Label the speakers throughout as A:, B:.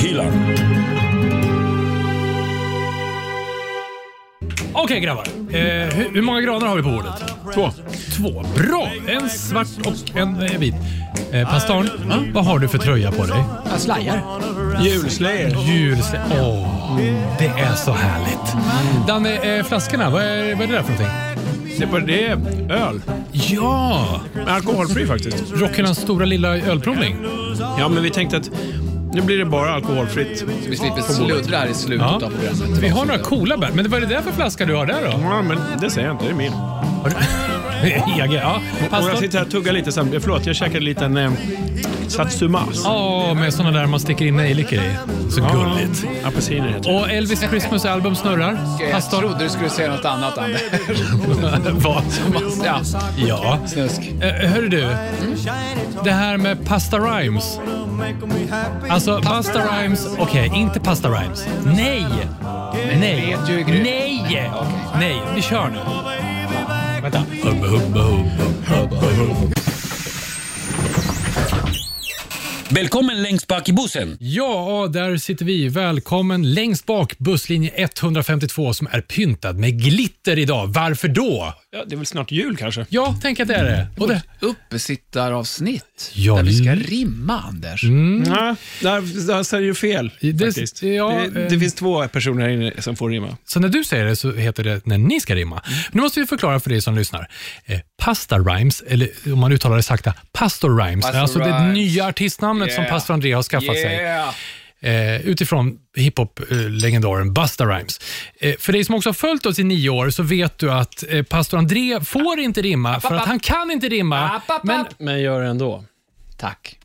A: Dylan.
B: Okej grabbar, eh, hur, hur många granar har vi på bordet?
C: Två.
B: Två. Bra! En svart och en eh, vit. Eh, Pastorn, vad har du för tröja på dig?
D: Jag slajar.
C: Julslayer.
B: Julslä... Åh, det är så härligt. Danne, eh, flaskorna, vad är, vad är det där för någonting?
C: Det var det. Öl.
B: Ja!
C: Men alkoholfri faktiskt.
B: Rockhyllans stora lilla ölprovning.
C: Ja, men vi tänkte att nu blir det bara alkoholfritt.
D: Vi slipper sluddra här i slutet
B: Ja.
D: av programmet.
B: Vi har några coola bär. Men vad är det där för flaska du har där då?
C: Ja, men det säger jag inte. Det är min.
B: Jag, ja.
C: Och jag
B: Pastorn?
C: sitter här och tuggar lite sen. Förlåt, jag käkade en liten eh, satsumas.
B: Ja, med såna där man sticker in nejlikor i. Så gulligt.
C: Apelsiner heter det.
B: Och Elvis Christmas album snurrar.
D: Jag
B: Pastorn?
D: trodde du skulle säga något annat, Anders.
B: Vad?
D: Ja,
B: Ja.
D: snusk.
B: Eh, Hörru du, det här med Pasta Rhymes. Alltså Pasta Rhymes, okej, inte Pasta Rhymes. Nej! Nej!
D: vet ju hur grymt.
B: Nej! Nej, vi kör nu. Vänta. Hubba, hubba, hubba, hubba, hubba.
A: Välkommen längst bak i bussen.
B: Ja, där sitter vi. Välkommen längst bak, busslinje 152 som är pyntad med glitter idag. Varför då?
C: Ja, det är väl snart jul kanske?
B: Ja, tänk att det är det.
D: Mm.
B: Och det
D: Uppesittaravsnitt.
B: Ja,
D: där vi
C: mm.
D: ska
B: l-
D: rimma, Anders.
C: Nej, Mm. där, där säger du fel
B: Det-
C: faktiskt.
B: ja,
C: det,
B: eh,
C: det finns två personer här inne som får rimma.
B: Så när du säger det så heter det när ni ska rimma. Nu måste vi förklara för dig som lyssnar. Eh, pasta rhymes, eller om man uttalar det sakta, pastor rhymes,
D: Pastor
B: är alltså det
D: Rhymes.
B: nya artistnamnet som
D: Yeah.
B: pastor André har skaffat sig.
D: Yeah.
B: Eh, utifrån hiphop-legendaren Busta Rhymes. Eh, för dig som också har följt oss i nio år så vet du att eh, pastor André får inte rimma för att han kan inte
C: Ah.
B: rimma.
D: App, app,
B: Men
D: app.
C: Men gör det ändå.
D: Tack.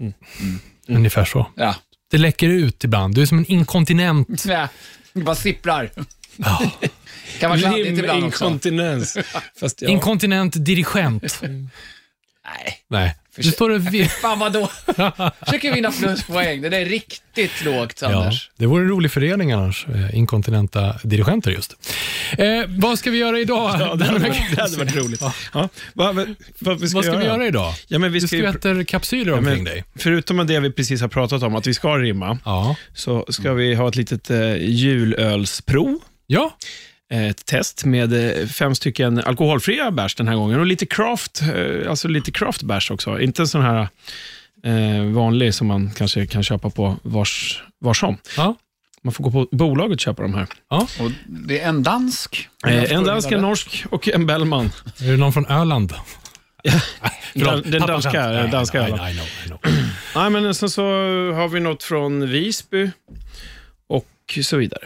B: ungefär så.
D: Ja.
B: Det läcker ut ibland. Du är som en inkontinent.
D: Nä, det bara sipprar. kan vara kladdigt ibland också.
C: Liminkontinens. Fast ja.
B: Inkontinent dirigent.
D: Nej,
B: Nej, du står och... vi-
D: fan vadå? Försöker vinna pluspoäng. Det där är riktigt lågt, Anders.
B: det vore en rolig förening annars. eh, Inkontinenta dirigenter just. Eh, vad ska vi göra idag?
C: Ja, det, hade varit, det hade varit roligt. Ja. Vad, vad, vad vi ska,
B: vad ska vi göra idag?
C: Ja, men vi
B: Du
C: ska ju,
B: skvätter kapsyler
C: ja,
B: omkring
C: men,
B: dig.
C: förutom det vi precis har pratat om, att vi ska rimma,
B: Ja.
C: så ska vi ha ett litet eh, julölsprov.
B: ja,
C: eh, Ett test med eh, fem stycken alkoholfria bärs den här gången och lite craft, eh, alltså lite craft bärs också. Inte en sån här eh, vanlig som man kanske kan köpa på vars, var som.
B: ja.
C: Man får gå på bolaget och köpa de här.
D: Och det är en dansk.
C: Eh, en dansk, en norsk och en bellman.
B: Är det någon från Öland? Förlåt,
C: Den- den
B: pappa
C: danska,
B: skämt.
C: den
B: Nej,
C: danska
B: nej,
C: Öland.
B: nej, nej, nej, nej.
C: Nej, men sen så har vi något från Visby och så vidare.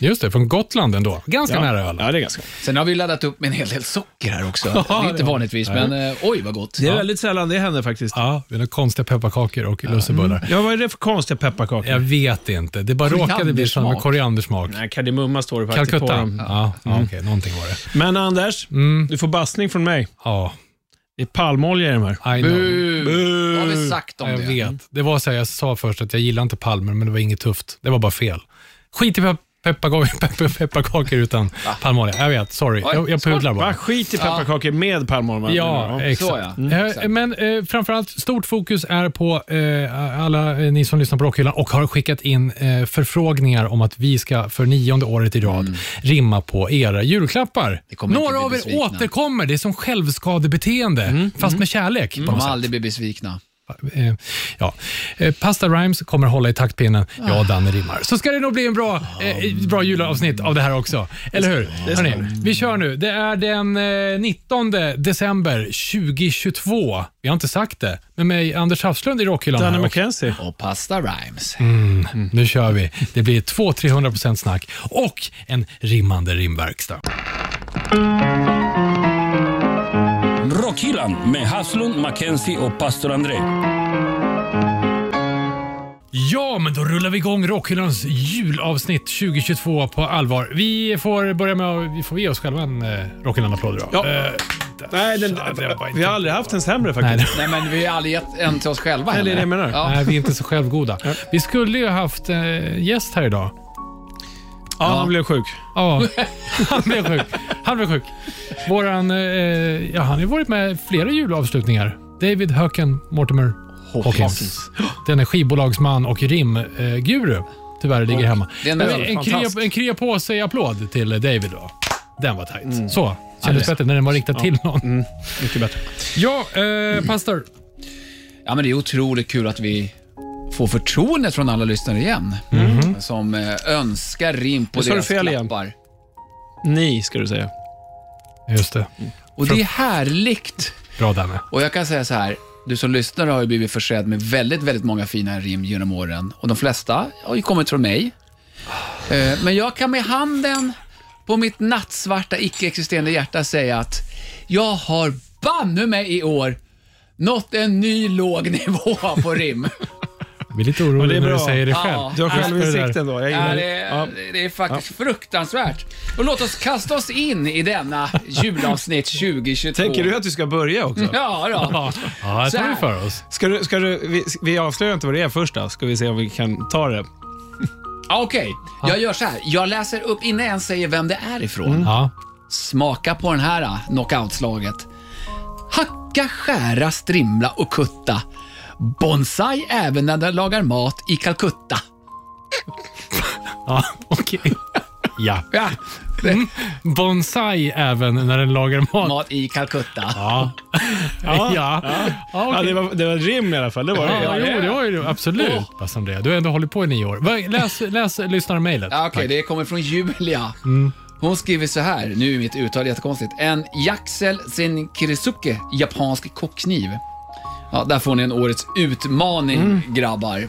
B: Just det, från Gotland ändå. Ganska nära Öland.
C: Ja, det är ganska.
D: Sen har vi laddat upp med en hel del socker här också. Det är inte
B: det har-
D: vanligtvis, men eh, oj vad gott.
C: Det är väldigt sällan det händer faktiskt.
B: Ja, vi har konstiga pepparkakor och lussebullar.
C: Ja, vad är det för konstiga pepparkakor?
B: Jag vet inte. Det bara råkade bli så med
D: Koriandersmak.
B: koriandersmak.
C: Nej, kardemumma står det faktiskt på
B: Calcutta.
C: dem.
B: Ja, Mm. ja, okej, någonting var det.
C: Men Anders, du får bassning från mig.
B: Ja,
C: Det är palmolja i de här.
B: I know.
D: Bu. Vad har vi sagt om
B: Ja, jag
D: det?
B: vet. Det var så här, jag sa först att jag gillar inte palmer, men det var inget tufft. Det var bara fel. Skit i pe- pepparkakor peppa, pepparkakor utan palmolja. Jag vet, sorry.
D: Oj,
B: Jag, jag
D: smart.
B: pudlar
C: Va,
B: bara.
C: skit i pepparkakor med palmolja.
B: Ja, exakt.
D: så ja. Mm,
B: Eh,
D: exakt.
B: Men eh, framförallt, stort fokus är på eh, alla eh, ni som lyssnar på Rockhyllan och har skickat in eh, förfrågningar om att vi ska för nionde året i rad rimma på era julklappar.
D: Det Mm. kommer inte
B: Några
D: bli
B: av er
D: besvikna. Mm.
B: återkommer. Det är som självskadebeteende, fast med kärlek. på
D: De
B: något
D: kommer
B: sätt.
D: aldrig bli besvikna.
B: Eh, ja. Eh, Pasta Rhymes kommer hålla i taktpinnen. Ja, Danne rimmar. Så ska det nog bli en bra, eh, bra julavsnitt av det här också. Eller hur? Hörrni, vi kör nu. Det är den eh, 19 december 2022. Vi har inte sagt det, men mig Anders Hafslund i Rockhyllan.
C: Danny
B: här och-
C: McKenzie.
D: Och pasta rhymes.
C: Mm.
B: Nu kör vi. Det blir 200-300% snack och en rimmande rimverkstad.
A: Rockhyllan med Haslund, Mackenzie och pastor André.
B: Ja, men då rullar vi igång Rockhyllans julavsnitt 2022 på allvar. Vi får börja med att vi får ge oss själva en eh, Rockhyllan-applåd idag.
C: Ja.
B: Eh,
C: Nej, den,
B: Ja, det var inte
C: vi har aldrig haft en sämre
B: nej,
C: faktiskt.
B: det-
D: Nej, men vi har aldrig gett en till oss själva
C: Eller är det jag
D: heller.
C: menar?
D: Ja.
B: nej, vi är inte så självgoda. Vi skulle ju haft eh, gäst här idag.
C: Ja, han blev sjuk.
B: Ja, han blev sjuk. Han blev sjuk. Våran, eh, ja, han har ju varit med i flera julavslutningar. David Höken Mortimer. Hawkins. Den är skivbolagsman och rimguru. Tyvärr ligger hemma.
D: den
B: Men
D: är
B: en, krya,
C: fantastisk.
B: en krya på sig applåd till David då. Den var tight. Så, kändes bättre när den var riktad till någon.
C: Mycket bättre.
B: Ja, eh, pastor.
D: Ja, men det är otroligt kul att vi får förtroendet från alla lyssnare igen. Som eh, önskar rim
C: Mm.
D: på
C: Nu sa du
D: deras
C: fel igen.
D: klappar.
C: Ni, ska du säga.
B: Just det.
D: Och det är härligt.
B: Bra Danne.
D: Och jag kan säga så här, du som lyssnar har ju blivit försedd med väldigt, väldigt många fina rim genom åren. Och de flesta har ju kommit från mig. Eh, Men jag kan med handen på mitt nattsvarta icke-existerande hjärta säga att jag har banne mig i år nått en ny låg nivå på rim.
B: Jag blir lite
C: Ja,
B: orolig
C: det är
B: när du
C: bra.
B: säger det
D: Ja.
B: själv.
C: Du har
B: Just för det där.
C: självinsikt ändå. Jag
D: Ja,
C: gillar
D: det,
C: det. Ja.
D: är, det är faktiskt fruktansvärt. Och låt oss kasta oss in i denna julavsnitt 2022.
C: Tänker du att du ska börja också?
D: Ja, då.
B: Ja, det
D: Så
B: tar vi
D: här.
B: för oss.
C: Ska du, ska du, vi, vi avslöjar inte vad det är först då. Ska vi se om vi kan ta det.
D: Ja, Okej, jag gör så här. Jag läser upp innan jag ens säger vem det är ifrån.
C: Mm.
B: Ja.
D: Smaka på den här ah, knockoutslaget. Hacka, skära, strimla och kutta. Bonsai även när den lagar mat i Calcutta.
B: Ja, okej. Ja.
D: Ja,
B: Bonsai även när den lagar mat.
D: mat i Calcutta.
B: Ja. Ja. ja.
C: Ja,
B: okej.
C: det, var, det var ett rim i alla fall. Det var det.
B: Ja, jo, det har ju du. Absolut. Fast Andrea, du har ändå hållit på i nio år. Va, Läs, läs lyssnarmailet.
D: Ja, Okej, det kommer från Julia. Hon skriver så här, nu är mitt uttal jättekonstigt. En Jaxel Senkirisuke, japansk kockkniv. Ja, där får ni en årets utmaning, grabbar.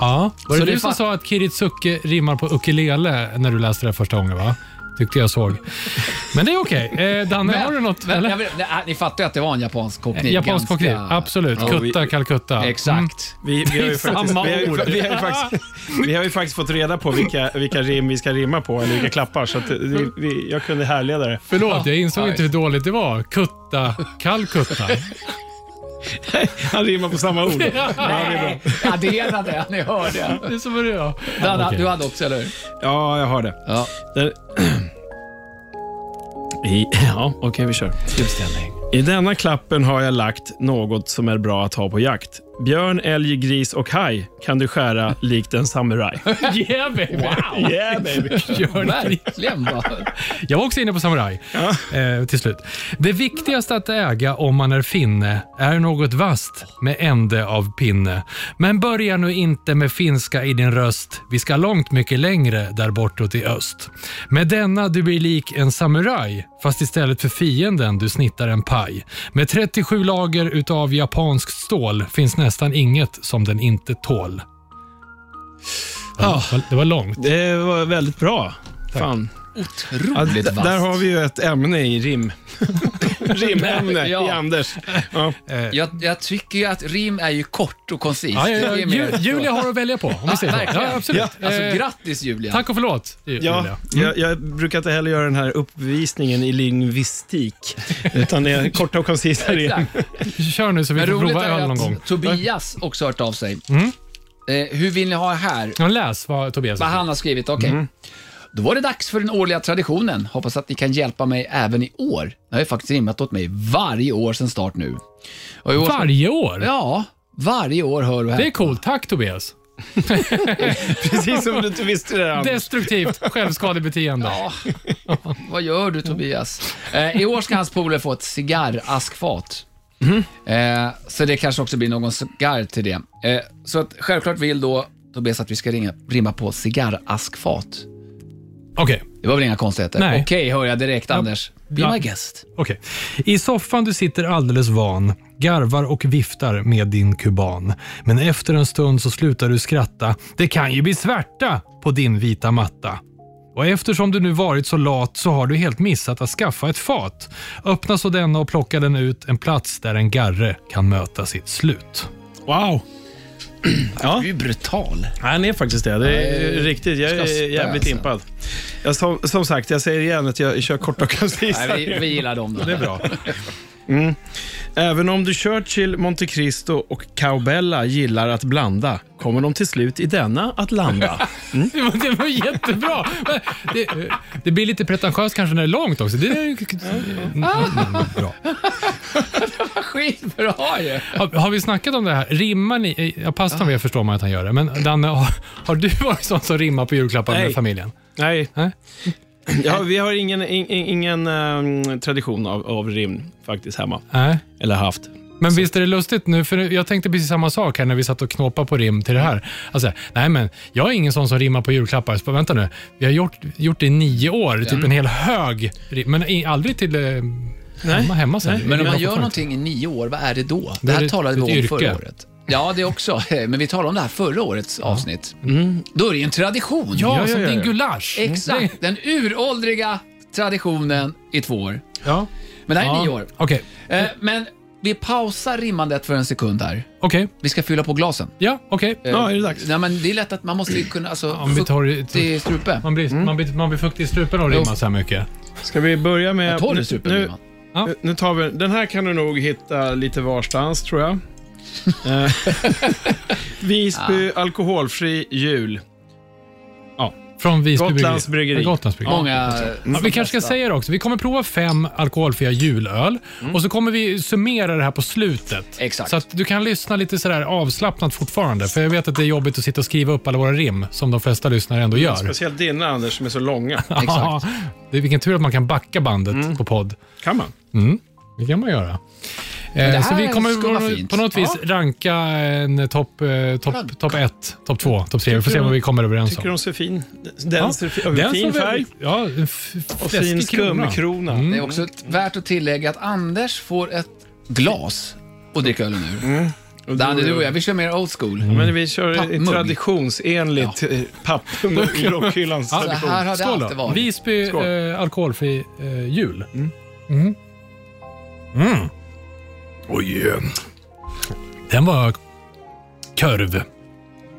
B: Ja. Var det,
D: Så det
B: du
D: är
B: som
D: fa-
B: sa att Kiritsuke rimmar på ukulele när du läste det första gången, va? Tyckte jag såg. Men det är okej. Eh, Danne, har du något?
D: men,
B: eller?
D: jag vill, nej, ni fattar ju att det var en japansk kockkniv.
B: Japansk
D: ganska-
B: kockkniv. Absolut.
D: Ja, vi-
B: Kutta, Calcutta. Mm.
D: Exakt.
C: Vi, vi, har ju
B: Det är
C: faktiskt, vi,
B: samma
C: har ju,
B: ord.
C: vi, har ju faktiskt, vi har ju faktiskt fått reda på vilka, vilka rim vi ska rimma på, eller vilka klappar, så att det- vi, jag kunde härleda det.
B: Förlåt, jag insåg
D: Ja,
B: inte hur dåligt det var. Kutta, Calcutta.
C: Han rimmar på samma ord.
D: Nej, addera det, ni hör det.
B: Det är som var det ja.
D: Danne,
B: okej.
D: du hade också, eller hur?
C: Ja, jag har det.
D: Ja.
C: Där... I, ja, okej, vi kör. I denna klappen har jag lagt något som är bra att ha på jakt. Björn, älg, gris och haj kan du skära likt en samuraj.
B: Yeah baby!
C: Yeah baby!
B: Gör det.
D: Verkligen bara.
B: Jag var också inne på samuraj eh, till slut. Det viktigaste att äga om man är finne är något vasst med ände av pinne. Men börja nu inte med finska i din röst. Vi ska långt mycket längre där bortåt i öst. Med denna du blir lik en samuraj, fast istället för fienden du snittar en paj. Med 37 lager utav japanskt stål finns nästan inget som den inte tål. Ja, det var långt.
C: Det var väldigt bra. Fan. Ja, d-
D: Otroligt vasst.
C: där har vi ju ett ämne i rim. Rimämne
D: Ja.
C: i Anders. Ja.
D: jag, jag tycker ju att rim är ju kort och koncist.
B: Ja, ja, ja.
D: Det är mer
B: Ju,
D: så.
B: Julia har att välja på, om vi säger så.
D: verkligen.
B: Ja, absolut.
D: Alltså,
B: Eh,
D: grattis Julia.
B: Tack och förlåt, Ju-
C: Ja,
B: Julia.
C: jag, jag brukar inte heller göra den här uppvisningen i lingvistik, utan det är korta och koncisa rim.
D: Exakt.
B: Kör nu så vi
D: Men
B: får
D: roligt
B: prova
D: är
B: öl någon
D: att
B: gång. Mm.
D: Tobias också hört av sig. Eh, hur vill ni ha det här?
B: Ja, läs vad Tobias
D: Vad
B: har
D: han har skrivit, okej. Då var det dags för den årliga traditionen. Hoppas att ni kan hjälpa mig även i år. Det har ju faktiskt rimmat åt mig varje år sedan start nu. Och i år
B: skrivit. Varje år?
D: Ja, varje år hör du här.
B: Det är coolt. Tack Tobias.
C: Precis som du inte visste det Anders.
B: Destruktivt självskadebeteende.
D: Ja. Vad gör du Tobias? Eh, I år ska hans polare få ett cigarraskfat. Eh, så det kanske också blir någon cigarr till det. Eh, så att självklart vill då Tobias att vi ska ringa, rimma på cigarraskfat.
B: Okej.
D: Det var väl inga konstigheter?
B: Nej.
D: Okej, hör jag direkt Anders. Be
B: Ja.
D: my guest.
B: Okej. I soffan du sitter alldeles van, garvar och viftar med din kuban. Men efter en stund så slutar du skratta. Det kan ju bli svärta på din vita matta. Och eftersom du nu varit så lat så har du helt missat att skaffa ett fat. Öppna så denna och plocka den ut, en plats där en garre kan möta sitt slut.
C: Wow.
D: Du är brutal.
C: Han är faktiskt det. Det är riktigt. Jag
D: ska
C: är
D: spä,
C: jävligt
D: alltså.
C: impad. Jag, som, som sagt, jag säger igen att jag kör korta och koncisa
D: Nej, vi,
C: rim.
D: vi gillar dem. Då.
C: Det är bra. Mm. Även om du Churchill, Monte Cristo och Cowbella gillar att blanda kommer de till slut i denna att landa.
B: Det var, det var jättebra! Men Det, det blir lite pretentiöst kanske när det är långt också. Det är, mm, bra.
D: skitbra ju!
B: Har, har vi snackat om det här? Rimmar ni? eh, Ja, pastorn vet förstår man att han gör det, men Danne, har, har du varit sån som rimmar på julklappar med
C: Nej.
B: familjen?
C: Nej,
B: Nej?
C: ja, vi har ingen, in, in- ingen ehm, tradition av, av rim faktiskt hemma.
B: Nej.
C: Eller haft.
B: Men visst är det lustigt nu, för jag tänkte precis samma sak här när vi satt och knåpade på rim till det här. Alltså, nej men, jag är ingen sån som rimmar på julklappar. Så bara, vänta nu, vi har gjort, gjort det i nio år, typ en hel hög rim, men i- aldrig till eh, hemma, hemma sen.
D: Men om
B: Rimmar
D: man
B: på
D: gör
B: folk.
D: någonting i nio år, vad är det då? Det,
B: är
D: här
B: ett-
D: talade vi
B: ett
D: om
B: yrke.
D: förra året. Ja, det också. Men vi talade om det här förra årets avsnitt. Då är det ju en tradition.
B: Mm. Ja, Mm.
C: Ja, ja,
B: som
C: ja,
B: din
C: ja.
B: gulasch.
D: Exakt. Den uråldriga traditionen i två år.
B: Ja.
D: Men det här är nio år.
B: Okej,
D: Eh, Men vi pausar rimmandet för en sekund här.
B: okej.
D: Vi ska fylla på glasen.
B: Ja, okej.
D: Eh,
C: Ja, är det dags?
D: Nej, men det är lätt att man måste ju kunna... Alltså,
B: Om vi tar det-
D: fuktig strupe.
B: Man blir, man, blir, man blir fuktig i strupen av att rimma så här mycket.
C: Ska vi börja med...
D: Jag tar det
C: nu-
D: strupen,
C: nu,
D: Johan.
C: nu, nu tar vi... Den här kan du nog hitta lite varstans, tror jag. Eh, Visby, alkoholfri jul.
B: Från Visby
C: Gotlands bryggeri.
B: Ja, Gotlands bryggeri.
D: Många...
B: Ja, vi kanske ska säga det också. Vi kommer prova fem alkoholfria julöl och så kommer vi summera det här på slutet.
D: Exakt.
B: Så att du kan lyssna lite sådär avslappnat fortfarande. För jag vet att det är jobbigt att sitta och skriva upp alla våra rim, som de flesta lyssnare ändå gör.
C: Speciellt dina, Anders, som är så långa.
B: Ja, det är vilken tur att man kan backa bandet på podd.
C: Kan man?
B: Det kan man göra. Eh,
D: här
B: så vi kommer
D: skulle vara
B: på-
D: fint.
B: på något vis ranka en topp eh, topp top 1, topp 2, topp 3. Vi får se vad vi kommer överens
C: Tycker
B: om.
C: de ser fin... Den ser fi- av fin
B: som-
C: färg
B: Ja, en f-
C: och fin
B: fläskig krona.
C: skumkrona.
D: Det är också
B: Mm.
D: t- värt att tillägga att Anders får ett glas att dricka ölen ur.
B: Mm.
C: Och
D: Danne,
C: då-
D: du och jag, vi kör mer old school.
C: Men vi kör
D: Pappmugg.
C: Pappmugg. traditionsenligt eh, pappmugg, rockhyllans
D: Så
C: tradition.
D: här har det
B: Skål
D: alltid
B: då.
D: varit.
B: Visby
C: Skål.
B: eh, alkoholfri eh, jul. Mm. Oj. eh, Den var körv.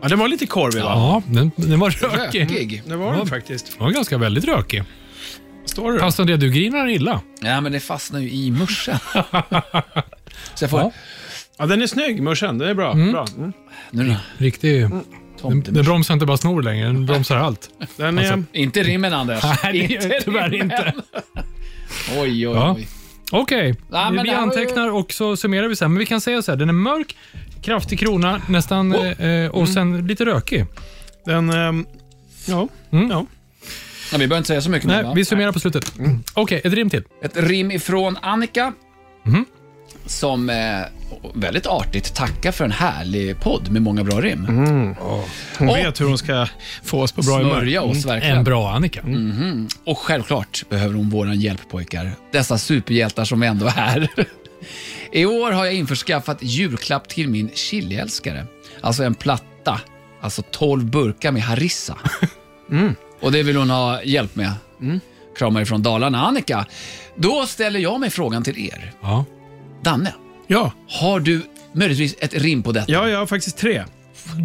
C: Ja, den var lite korvig va?
B: Ja, den, den var rökig.
D: Rökig.
C: Det var den faktiskt.
B: Den var ganska väldigt rökig.
C: Står det?
B: Fast det du grinar illa.
D: Ja, men det fastnar ju i muschen. Så jag får...
B: Ja.
C: Ja, den är snygg, morsan. Den är bra. bra. Mm.
D: Nu då.
B: Riktig...
D: Mm.
B: Den, den bromsar inte bara snor längre, den bromsar allt.
C: Den är...
B: Alltså.
D: Inte rimmen, Anders.
B: Nej, det gör jag tyvärr
D: rimmen.
B: inte.
D: Oj, oj,
B: Ja.
D: oj.
B: Okej,
D: Ja, men
B: vi
D: det här var ju-
B: antecknar och så summerar vi sen. Men vi kan säga så här, den är mörk, kraftig krona nästan
D: Oh.
B: eh, och
D: Mm.
B: sen lite rökig.
C: Den... ehm, ja.
B: Mm.
C: ja.
D: Ja, Mm. vi behöver inte säga så mycket nu,
B: Nej,
D: va?
B: vi summerar på slutet. Okej, ett rim till.
D: Ett rim ifrån Annika.
B: Mhm.
D: Som eh, väldigt artigt tackar för en härlig podd med många bra rim.
B: Mhm.
C: Hon
D: Och-
C: vet hur hon ska få oss på bra humör.
D: Smörja oss verkligen.
B: Mm. En bra Annika.
D: Och självklart behöver hon våran hjälp pojkar. Dessa superhjältar som vi ändå är. I år har jag införskaffat julklapp till min chiliälskare. Alltså en platta, alltså 12 burkar med harissa.
C: Mm.
D: Och det vill hon ha hjälp med. Kramar ifrån Dalarna. Annika, då ställer jag mig frågan till er.
B: Ja.
D: Danne,
C: Ja.
D: har du möjligtvis ett rim på detta?
C: ja, jag har faktiskt tre.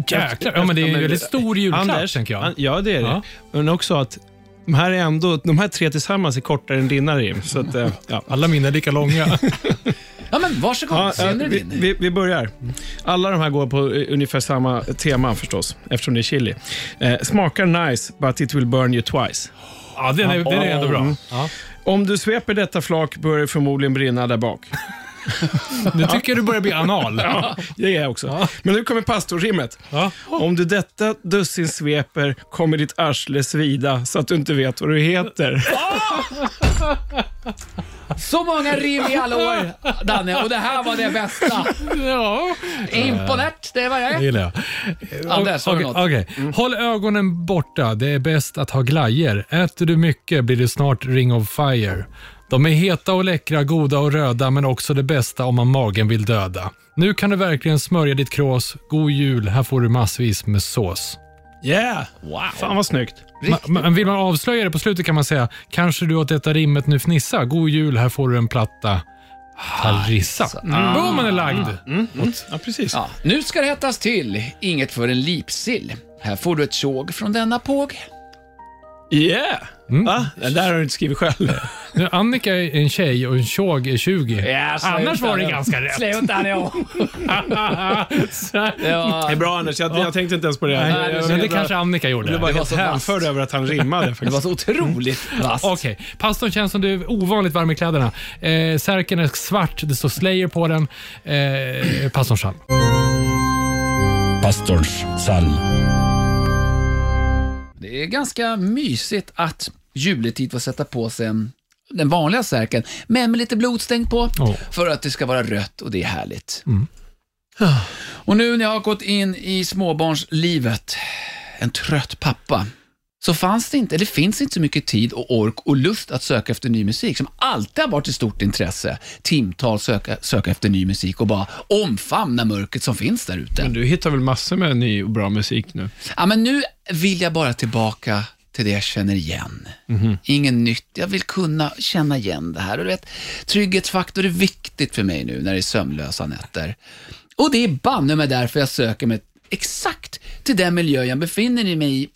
B: Jäklar. Ja, men det är ju en väldigt stor julklapp,
C: Anders,
B: tänker jag.
C: An- ja, det är det.
B: Ja.
C: Men också att de här, är ändå, de här tre tillsammans är kortare än dina rim. Så att, eh, ja.
B: Alla mina är lika långa.
D: Ja, men varsågod.
C: Ja, eh,
D: Sen är det
C: vi,
D: din.
C: vi, vi börjar. Alla de här går på eh, ungefär samma tema förstås, eftersom det är chili. Eh, smakar nice, but it will burn you twice.
B: ja, den är, den är ändå bra. Ja.
C: Om du sveper detta flak börjar det förmodligen brinna där bak.
B: Nu tycker jag du börjar bli anal. Ja.
C: Det är jag också. Men nu kommer pastorrimmet.
B: Ja.
C: Om du detta dussin sveper kommer ditt arsle svida så att du inte vet vad du heter.
D: Så många rim i alla år, Danne, och det här var det bästa. Imponerat, det var
B: Det
D: jag.
B: gillar jag.
D: Anders, har du
B: Okej,
D: något?
B: okej. Håll ögonen borta. Det är bäst att ha glajer. Äter du mycket blir du snart ring of fire. De är heta och läckra, goda och röda, men också det bästa om man magen vill döda. Nu kan du verkligen smörja ditt krås. God jul, här får du massvis med sås.
C: Yeah!
D: Wow.
C: Fan vad snyggt.
B: Ma- Men vill man avslöja det på slutet kan man säga, kanske du åt detta rimmet nu fnissa. God jul, här får du en platta harissa. Mm. Boom, man är lagd.
C: Ja, precis.
D: Ja, nu ska det hettas till. Inget för en lipsill. Här får du ett tjog från denna påg.
C: Yeah! Va? Den där har du inte skrivit själv.
B: Nu, Annika är en tjej och en tjog är 20. Annars var det ganska rätt.
D: Sluta
C: Det
D: nu!
C: är
D: Ja,
C: bra Anders, jag, jag tänkte inte ens på det. Nej, jag,
B: Nej,
C: jag,
B: men det
C: blev bara-
B: kanske Annika gjorde.
C: jag blev bara
D: Det var
C: helt
D: så vasst.
C: hänförd över Mm. att han rimmade. Faktiskt.
D: det var så otroligt vasst.
B: Okej, pastorn känns som du är ovanligt varm i kläderna. Eh, särken är svart, det står Slayer på den. Eh, pastorns psalm.
A: Pastorns psalm.
D: Det är ganska mysigt att juletid får sätta på sig en, den vanliga särken, men med lite blodstänk på,
B: Åh.
D: för att det ska vara rött och det är härligt. Och nu när jag har gått in i småbarnslivet, en trött pappa, så fanns det inte, eller finns inte så mycket tid och ork och lust att söka efter ny musik, som alltid har varit ett stort intresse. Timtal söka, söka efter ny musik och bara omfamna mörkret som finns där ute.
C: Men du hittar väl massor med ny och bra musik nu?
D: Ja, men nu vill jag bara tillbaka till det jag känner igen. Inget nytt. Jag vill kunna känna igen det här. Och du vet, trygghetsfaktor är viktigt för mig nu när det är sömnlösa nätter. Och det är banne mig därför jag söker mig exakt till den miljö jag befinner mig i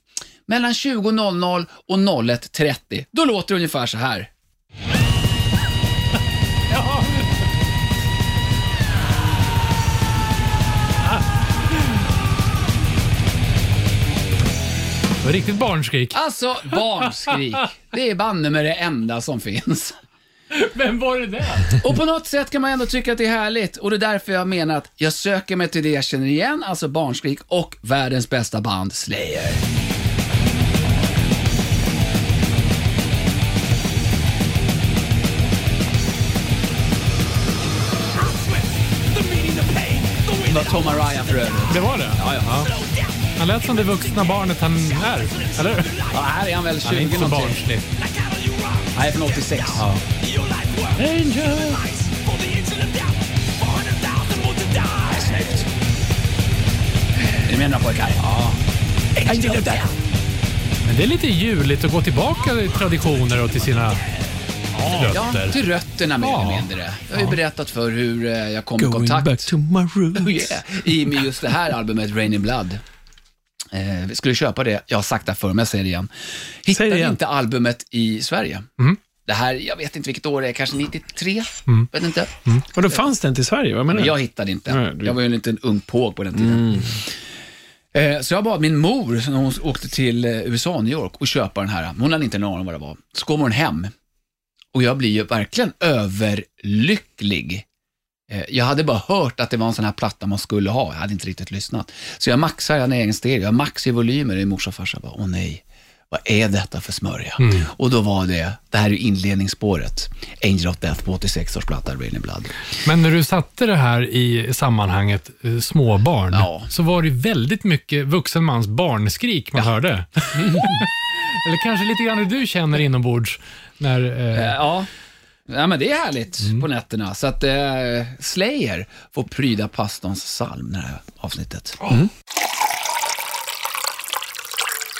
D: mellan 20.00 och 01.30. Då låter det ungefär så här.
B: Det var Riktigt barnskrik.
D: Alltså, barnskrik. Det är banne mig det enda som finns.
B: Vem var det där?
D: Och på något sätt kan man ändå tycka att det är härligt och det är därför jag menar att jag söker mig till det jag känner igen, alltså Barnskrik och världens bästa band Slayer. Det var Tom Araya för övrigt.
B: Det var det? Ja, ja. Han lät som det vuxna barnet han är. Eller
D: Ja, här är han väl 20
B: Han är inte så
D: någonting.
B: barnslig.
D: Han är från 86. Är ni med några pojkar? Ja. I did it there.
B: Men det är lite juligt att gå tillbaka till traditioner och till sina
D: Ja,
B: rötter.
D: till rötterna mer eller
B: Ja.
D: mindre. Jag har ju berättat för hur eh, jag kom i
C: back
D: kontakt
C: to my roots.
D: oh yeah, i med just det här albumet, Rain in Blood. Eh, vi skulle köpa det, jag har sagt det förr, men jag säger det igen. Hittade
C: Säg det igen. Mm.
D: inte albumet i Sverige. Det här, jag vet inte vilket år det är, kanske 93? Vet inte.
C: Och då fanns den till Sverige? Vad menar
D: Men
C: du?
D: jag hittade inte.
C: Nej, du-
D: Jag var ju en liten ung påg på den tiden.
C: Mm.
D: Eh, Så jag bad min mor, när hon åkte till eh, USA, New York, och köpa den här. Hon hade inte en aning om vad det var. Så kommer hon hem och jag blir ju verkligen överlycklig. Eh, Jag hade bara hört att det var en sån här platta man skulle ha. Jag hade inte riktigt lyssnat. Så jag maxar, jag hade en egen stereo. Jag maxar i volymer. Min morsa och farsa bara, åh nej, vad är detta för smörja?
C: Mm.
D: Och då var det, det här är ju inledningsspåret, Angel of Death på 86 års platta, Rain in Blood.
B: Men när du satte det här i sammanhanget eh, småbarn,
D: Ja.
B: så var det väldigt mycket vuxen mans barnskrik man hörde. Eller kanske lite grann hur du känner inombords. När, eh,
D: Eh, Ja. ja, men det är härligt
B: Mm.
D: på nätterna. Så att eh, Slayer får pryda pastorns psalm det här avsnittet.
B: Ah,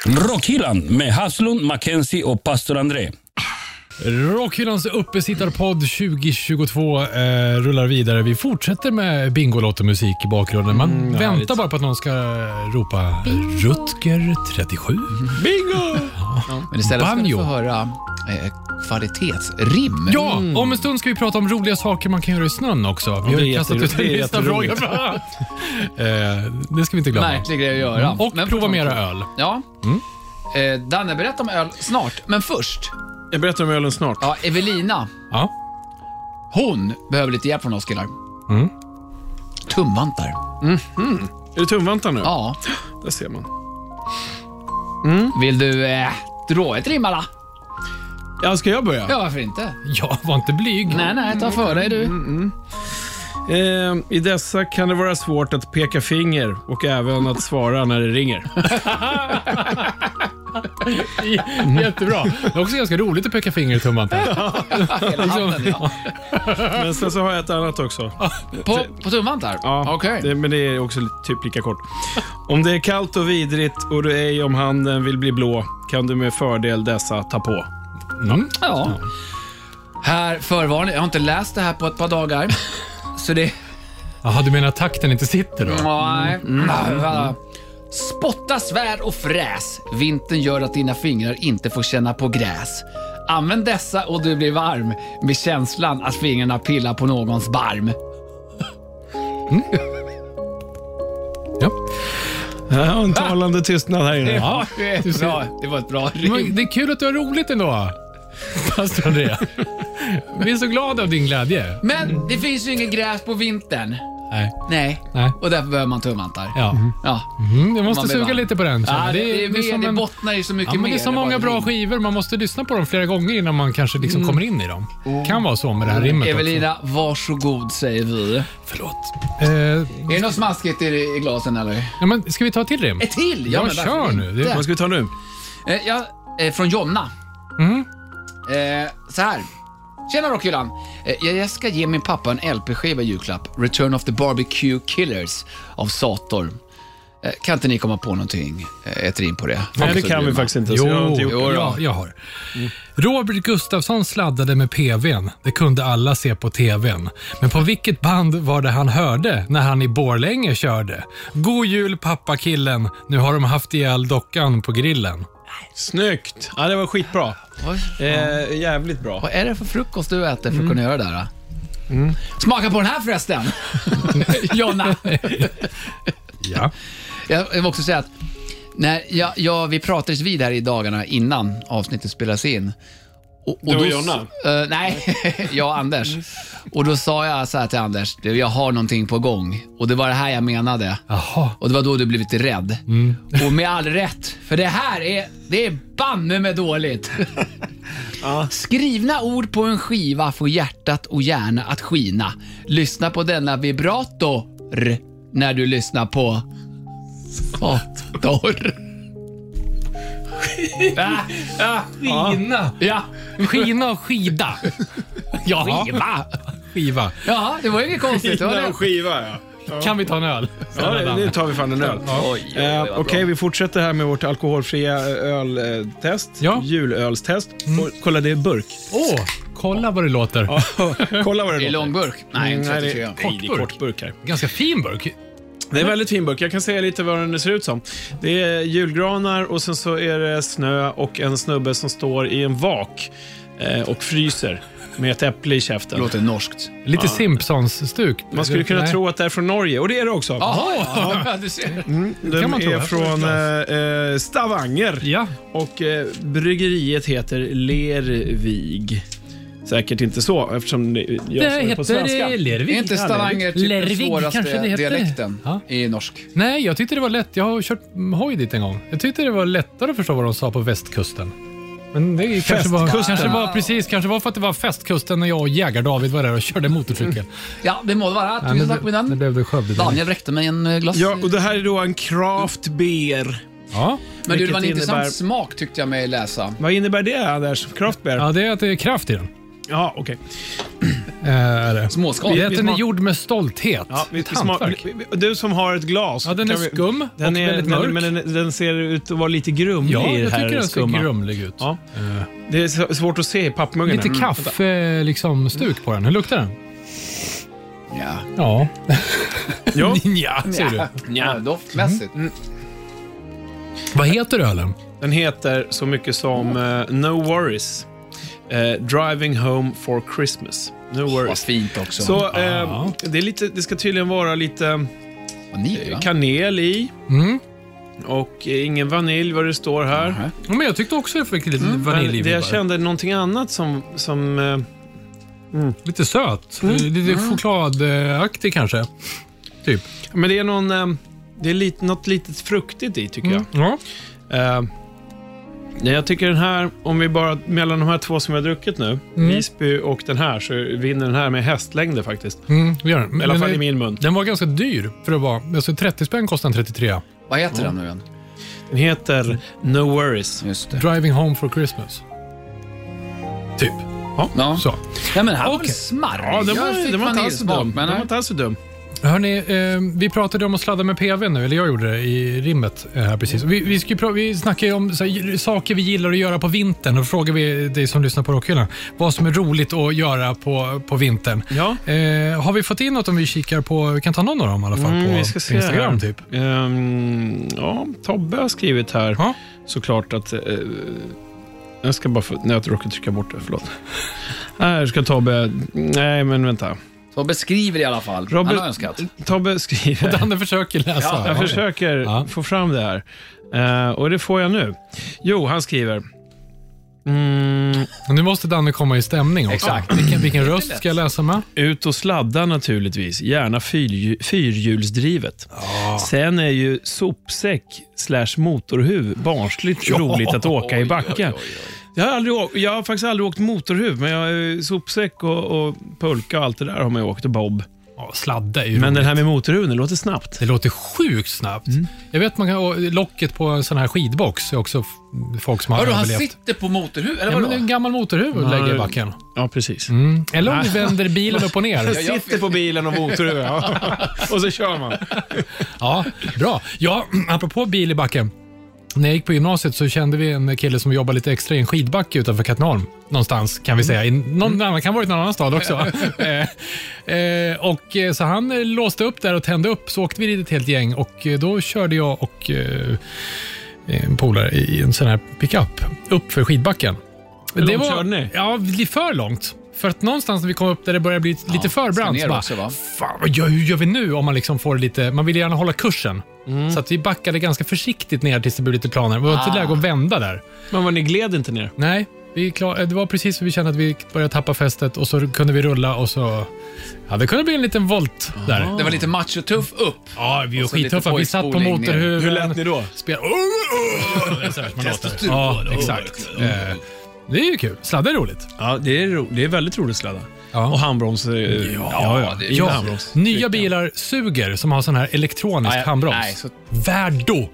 A: Rockhyllan med Haslund, Mackenzie och pastor André.
B: Rockhyllans uppesittarpodd 2022 eh, rullar vidare. Vi fortsätter med Bingolotto-musik i bakgrunden. Man väntar bara på att någon ska ropa Rutger 37.
C: Bingo!
D: Men istället ska du
B: Banjo.
D: få höra eh, kvalitetsrim.
B: Ja, om en stund ska vi prata om roliga saker man kan göra i snön också. Vi har
C: det
B: ju
C: är
B: kastat ut
C: jätteroligt.
B: en
C: Det är
B: lyssnarfråga.
C: jätteroligt.
B: eh, det ska vi inte glömma.
D: Märklig grej att göra.
B: Och
D: Men-
B: prova mera öl. Mm.
D: Ja. Eh, Danne, berätta om öl snart. Men först,
C: Jag berättar om ölen snart.
D: ja, Evelina,
B: Ja.
D: hon behöver lite hjälp från oss killar.
B: Mm.
D: Tumvantar.
C: Är det tumvantar nu?
D: Ja.
C: Där ser man.
D: Vill du eh, dra ett rim alla?
C: Ja, ska jag börja?
D: Ja, varför inte?
B: ja, Mm. var inte blyg.
D: Nej, nej, ta för dig du.
C: Eh, I dessa kan det vara svårt att peka finger och även att svara när det ringer.
B: J- Jättebra. Det är också ganska roligt att peka finger i tumvanten.
D: Hela handen, ja.
C: Men sen så har jag ett annat också.
D: På,
B: Alltså-
D: på tumvantar?
C: Ja,
D: Okej.
C: det, men det är också li- typ lika kort. Om det är kallt och vidrigt och du ej om handen vill bli blå kan du med fördel dessa ta på.
B: Mm.
D: Ja. Här förvarning, jag har inte läst det här på ett par dagar. Så det...
B: Jaha, du menar takten inte sitter då?
D: Nej.
B: Mm,
D: Spotta, svär och fräs. Vintern gör att dina fingrar inte får känna på gräs. Använd dessa och du blir varm med känslan att fingrarna pillar på någons barm.
B: Ja. Ah.
C: Ja, en talande tystnad här inne.
B: Ja.
D: Det, är
B: ser.
D: bra. det var ett bra rim.
B: Men det är kul att du har roligt ändå, pastor André. Vi är så glada av din glädje.
D: Men det finns ju inget gräs på vintern.
B: Nej.
D: Nej.
B: Nej.
D: Och därför behöver man tumvantar.
B: Ja.
C: Mhm.
D: Ja.
B: Mm, jag måste
D: Man blir
B: suga
D: varm.
B: lite på den. känner
D: Ja,
B: jag.
D: det, är, mer,
B: som
D: det
B: en-
D: bottnar ju så mycket
B: Ja, men
D: mer.
B: det är så
D: än
B: många
D: bara
B: bra
D: rim.
B: skivor. Man måste lyssna på dem flera gånger innan man kanske liksom kommer in i dem. Kan vara så med det här rimmet också.
D: Mm. Evelina, varsågod säger vi.
B: Förlåt. Eh,
D: Är det något smaskigt i, i glasen eller?
B: ja, men ska vi ta till rim?
D: Ett till?
B: Ja,
D: men varför
B: kör nu.
D: inte?
B: Det är-
C: Vad ska vi ta nu?
D: Eh, ja, eh, från Jonna.
B: Mm.
D: Eh, så här. Tjena Rockhyllan! Eh, jag ska ge min pappa en LP-skiva i julklapp. Return of the Barbecue Killers av Sator. Eh, kan inte ni komma på någonting? Eh, ett rim på det?
C: Nej, det
D: Absolut,
C: kan vi
D: Jonna.
C: faktiskt inte. så
B: Jo,
C: jag har inte gjort det.
D: Jo då.
B: ja, jag har. Robert Gustafsson sladdade med PVn. Det kunde alla se på TVn. Men på vilket band var det han hörde när han i Borlänge körde? God jul pappakillen. Nu har de haft ihjäl dockan på grillen.
C: Snyggt! Ja, det var skitbra.
D: Oj,
C: Eh, jävligt bra. Mm.
D: vad är det för frukost du äter för att kunna göra det här? då? Smaka på den här förresten! Jonna!
B: Ja.
D: Jag jag vill också säga att när jag, jag, vi pratades vid här i dagarna innan avsnittet spelades in. Och,
C: Du och
D: då-
C: Jonna?
D: Eh, nej, jag och Anders. Och då sa jag så här till Anders, du, jag har någonting på gång. Och det var det här jag menade.
B: Jaha.
D: Och det var då du blev lite rädd.
B: Mm.
D: Och med all rätt, för det här är, det är banne med dåligt. Skrivna ord på en skiva får hjärtat och hjärna att skina. Lyssna på denna vibrator när du lyssnar på Sator. Äh, ja, ja,
B: Skina.
D: ja,
B: Skina och skida.
D: ja,
B: Jaha.
D: skiva.
B: Skiva.
D: Ja, det var ju inget konstigt. Det var
C: Innan
D: det.
C: skiva, ja.
B: Kan vi ta en öl?
C: Ja, det- nu tar vi fan en öl. Eh, Okej, vi fortsätter här med vårt alkoholfria eh, öltest.
B: Ja.
C: Julölstest. Och, kolla, det är burk.
B: Åh, kolla vad det låter.
C: kolla vad det
D: I
C: låter.
D: långburk? Nej,
C: Mm,
D: en
C: nej, det-
D: 34.
C: nej, det är
B: Kortburk.
C: kortburk här.
B: Ganska fin burk.
C: Det är en väldigt fin burk. Jag kan säga lite vad den ser ut som. Det är julgranar och sen så är det snö och en snubbe som står i en vak eh, och fryser med ett äpple i käften.
D: Låter norskt.
B: Lite Simpsons-stuk.
C: Man skulle kunna
B: Nej.
C: tro att det är från Norge, och det är det också.
D: Jaha, ja. du ser.
C: De
B: kan man tro,
C: är
B: jag tror det är
C: från eh, eh, Stavanger.
B: Ja.
C: Och eh, bryggeriet heter Lervig. Säkert inte så, eftersom det- jag sa
B: eh,
C: det på svenska.
B: Lervik.
D: Är inte Stavanger typ den
B: Lervig,
D: svåraste
B: kanske det heter.
D: dialekten
B: Ja.
D: i norsk?
B: Nej, jag tyckte det var lätt. Jag har kört hoj dit en gång. Jag tyckte det var lättare att förstå vad de sa på västkusten. Men det kanske var,
C: Festkusten.
B: kanske var precis, kanske var för att det var festkusten när jag och jägar-David var där och körde
C: Mm.
B: motorcykel.
D: Ja, det må det vara.
B: Ja,
D: Tusen
B: nu-
D: tack med
B: Nu
D: den.
B: blev det Skövde.
D: Daniel räckte mig en eh, glass.
C: Ja, och det här är då en craft beer.
B: Ja.
D: Men du, det var en
C: vilket
D: intressant
C: innebär-
D: smak tyckte jag mig läsa.
C: Vad innebär det, Anders? Craft beer? Ja,
B: ja, det är att det är kraft i den.
C: okej.
B: Eh, är det.
D: Småskalig.
B: Det är att den är
C: smak-
B: gjord med stolthet.
C: Ja, vi,
B: Ett
C: vi smak-
B: hantverk.
C: vi- vi- du som har ett glas.
B: Ja, den är
C: kan vi-
B: skum
C: Den
B: och
C: är,
B: väldigt
C: men-
B: mörk.
C: Men den, den ser ut att vara lite grumlig
B: ja,
C: i det
B: jag
C: här
B: tycker den ser
C: skumma.
B: grumlig ut. Eh.
C: Ja. Det är så- svårt att se i pappmuggen.
B: Lite
C: här. Mm.
B: kaffe, liksom, stuk på den. Hur luktar den?
D: Ja.
B: Ja.
C: Ja,
B: Nja, säger du.
D: Ja,
C: Mm.
D: Mm. doftmässigt.
B: Vad heter ölen?
C: den heter så mycket som eh, No Worries. Eh, driving Home for Christmas. No
D: Vad
C: Worries.
D: fint också.
C: Så eh,
B: Ah.
C: det, är lite, det ska tydligen vara lite
D: Vanilj, va?
C: kanel i
B: Mm.
C: och eh, ingen vanilj vad det står här.
D: Nähä.
B: Ja, Men jag tyckte också det fick lite
C: Men Mm. det
B: vaniljvibbar.
C: jag kände någonting annat som, som eh,
B: Lite söt.
C: Mm.
B: Lite chokladaktig kanske. Typ.
C: Men det är någon... eh, Det är lite, något litet fruktigt i, tycker
B: Mm. Ja.
C: jag. Eh, nej, jag tycker den här, om vi bara... Mellan de här två som vi har druckit nu,
B: Mm.
C: Visby och den här, så vinner den här med hästlängder faktiskt.
B: Mm, vi gör den.
C: I alla
B: Men
C: fall
B: det-
C: i min mun.
B: Den var ganska dyr för att vara... Alltså 30 spänn kostar den 33.
D: Vad heter den nu igen?
C: Den heter No Worries.
D: Just det.
B: Driving home for Christmas. Typ.
D: Ja.
B: Så.
D: ja, men här var väl
B: Okej.
D: smarrig?
C: Ja, den
D: Jag
C: var,
D: fick
C: den var inte alls så
D: vaniljsmak,
C: dum.
D: men
C: Den
D: eh,
C: var
D: nej.
C: inte alls så dum.
B: Hörni, eh, vi pratade om att sladda med PV nu, eller jag gjorde det i rimmet eh, här precis. Vi, vi, ska ju pra- vi snackade ju om så här, saker vi gillar att göra på vintern och frågar vi dig som lyssnar på Rockhyllan vad som är roligt att göra på, på vintern.
C: Ja.
B: Eh, har vi fått in något om vi kikar på, vi kan ta någon av dem i alla fall
C: Mm,
B: på
C: vi ska se
B: Instagram
C: här.
B: typ.
C: Ehm, ja, Tobbe har skrivit här
B: Ja.
C: såklart att eh, Jag ska bara få... Nej, jag råkade trycka bort det. Förlåt. Nej, jag ska Tobbe... Nej, men vänta.
D: Så beskriver i alla fall.
C: Robert-
D: Han har önskat.
C: Tobbe skriver...
B: Danne försöker läsa.
D: Ja,
C: Jag försöker
B: Ja.
C: få fram det här. Eh, och det får jag nu. Jo, han skriver. Mm,
B: Nu måste Danne komma i stämning också.
D: Exakt.
B: Vilken, vilken röst ska jag läsa med?
C: ut och sladda naturligtvis. Gärna fyrhju- fyrhjulsdrivet. Sen är ju sopsäck slash motorhuv barnsligt roligt att åka i backen. Jag, har aldrig, å- jag har faktiskt aldrig åkt motorhuv, men jag, eh, sopsäck och, och pulka och allt det där har man ju åkt och bob.
B: Ja, sladda är ju
C: Men
B: roligt.
C: den här Mm. med motorhuven, det låter snabbt.
B: Det låter sjukt snabbt. Jag vet man kan, och locket på en sån här skidbox är också f- folk som har
D: Vadå, han
B: överlevt.
D: sitter på motorhuv? Eller
B: Ja, men
D: vadå?
B: det är en gammal motorhuv och lägger i backen.
C: Ja, precis.
B: Mm. Eller om vi vänder bilen upp och ner.
D: jag-
C: Sitter på bilen och motorhuv, ja. Och så kör man.
B: Ja, bra. Ja, apropå bil i backen. När jag gick på gymnasiet så kände vi en kille som jobbade lite extra i en skidbacke utanför Katrineholm. Någonstans kan vi säga. I någon
C: Mm.
B: annan, kan ha varit någon annan stad också. eh, eh, och, eh, så han eh, låste upp där och tände upp. Så åkte vi dit ett helt gäng och eh, då körde jag och eh, en polare i en sån här pickup upp för skidbacken.
C: Hur långt körde ni?
B: Ja, li- för långt. För att någonstans när vi kom upp där det började bli lite för
D: ska
B: brant
D: ner
B: så bara,
D: också, va?
B: fan, vad gör, hur gör vi nu? Om man liksom får lite, man vill gärna hålla kursen. Så att vi backade ganska försiktigt ner tills det blev lite planare. Det var inte
D: Mm. Ah.
B: läge att vända där.
C: Men vad, ni gled inte ner?
B: Nej, vi klar, det var precis så vi kände att vi började tappa fästet och så kunde vi rulla och så... Ja, det kunde bli en liten volt där.
D: Det var lite machotuff upp.
B: Ja, vi var
D: Och så Alltså lite
B: skittuffa. Vi satt på
D: pojkspoling ner.
B: motorhuven.
C: då?
B: Spel... Oh, oh, så här som man låter. Ja, exakt. Eh, Det är ju kul. Sladd är roligt.
C: Ja, det är, ro- det är väldigt roligt att sladda.
B: Ja.
C: Och handbroms. eh, Ja, ja.
D: det-
C: In med
B: Ja,
C: handbroms.
B: nya bilar suger som har sån här elektronisk
D: Nej,
B: handbroms.
D: nej, så-
B: Värdo!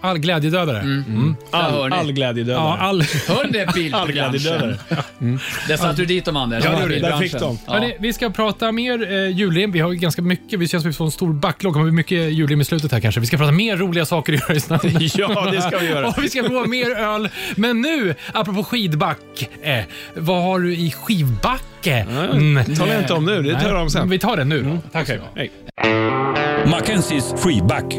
B: All glädjedödare.
C: Mm.
D: Där hör
C: All,
D: ni.
C: all glädje dödar.
B: Ja, all...
D: Hör ni det
C: all glädje
D: bilbranschen?
C: dödar.
D: Där satte du dit dem Anders.
C: Ja, det gjorde jag. Där fick de.
D: Ja.
B: Hörrni, vi ska prata mer eh, julrim. Vi har ju ganska mycket. Vi känns som vi får en stor backlog. Det kommer bli mycket julrim i slutet här kanske. Vi ska prata mer roliga saker i Örjesnamn.
C: Ja, det ska vi göra.
B: Och vi ska prova mer öl. Men nu, apropå skidback. Eh, vad har du i skivbacke? Mm.
C: Det talar jag inte om nu. Det tar jag om sen. Mm.
B: Vi tar det nu då. Tack
C: Okej. Hej.
A: Mackenzies freeback.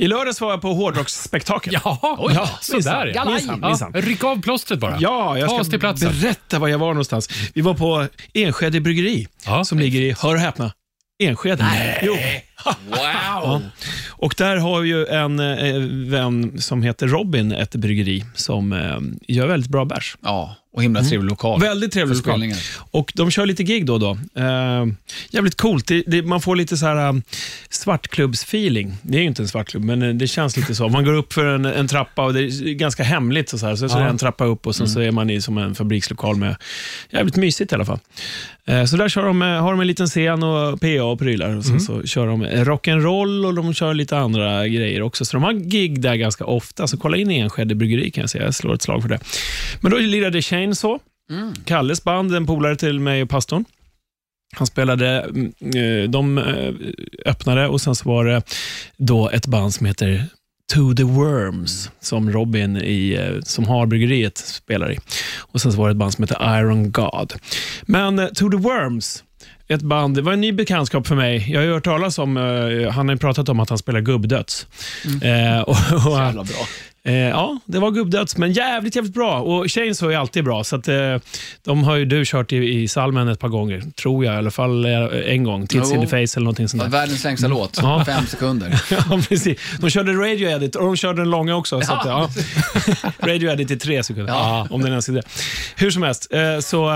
C: I lördags var jag på hårdrocksspektakel.
B: Jaha,
C: Oj,
B: ja,
C: minsann,
B: sådär ja.
C: minsann, minsann.
B: Ja, ryck av plåstret bara.
C: Ja, jag
B: Ta
C: ska
B: oss till platsen.
C: berätta var jag var någonstans. Vi var på Enskede bryggeri
B: Ja.
C: som ligger i, hör och häpna, Enskede. Nej. Jo.
D: Wow!
C: Och där har ju en eh, vän som heter Robin ett bryggeri som eh, gör väldigt bra bärs.
D: Ja, och himla
C: Mm.
D: trevlig lokal.
C: Väldigt trevlig
D: För
C: lokal.
D: spelningar.
C: Och de kör lite gig då och då. Eh, jävligt coolt. Det, det, man får lite så här eh, svartklubbsfeeling. Det är ju inte en svartklubb, men eh, det känns lite så. Man går upp för en, en trappa och det är ganska hemligt. Och så här. Så, så är det en trappa upp och sen så är man i som en fabrikslokal med jävligt mysigt i alla fall. Eh, så där kör de, eh, har de en liten scen och PA och prylar. Och sen så kör de eh, rock'n'roll och de kör lite andra grejer också. Så de har gig där ganska ofta. Så kolla in Enskede bryggeri kan jag säga. Jag slår ett slag för det. Men då lirade Chainsaw.
D: Mm.
C: Kalles band, en polare till mig och pastorn. Han spelade, mm, eh, de eh, öppnade och sen så var det då ett band som heter To the
D: Mm.
C: Worms, som Robin i, eh, som har bryggeriet spelar i. Och sen så var det ett band som heter Iron God. Men eh, To the Worms, ett band, det var en ny bekantskap för mig. Jag har ju hört talas om, eh, han har ju pratat om att han spelar gubbdöds. Eh, och, och,
D: Mm. Jävla bra.
C: Eh, ja, det var gubbdöds, men jävligt, jävligt bra. Och Chainsaw är alltid bra, så att, eh, de har ju du kört i, i salmen ett par gånger, tror jag. I alla fall eh, en gång. Tits in the
D: Jo.
C: face eller någonting sånt där.
D: Världens längsta låt.
C: Mm. Ja.
D: Fem sekunder.
C: Ja, precis. De körde Radio Edit och de körde den långa också. Så att, ja. Radio Edit i tre sekunder,
D: Ja.
C: om den ens är det. Hur som helst, eh, så... Eh,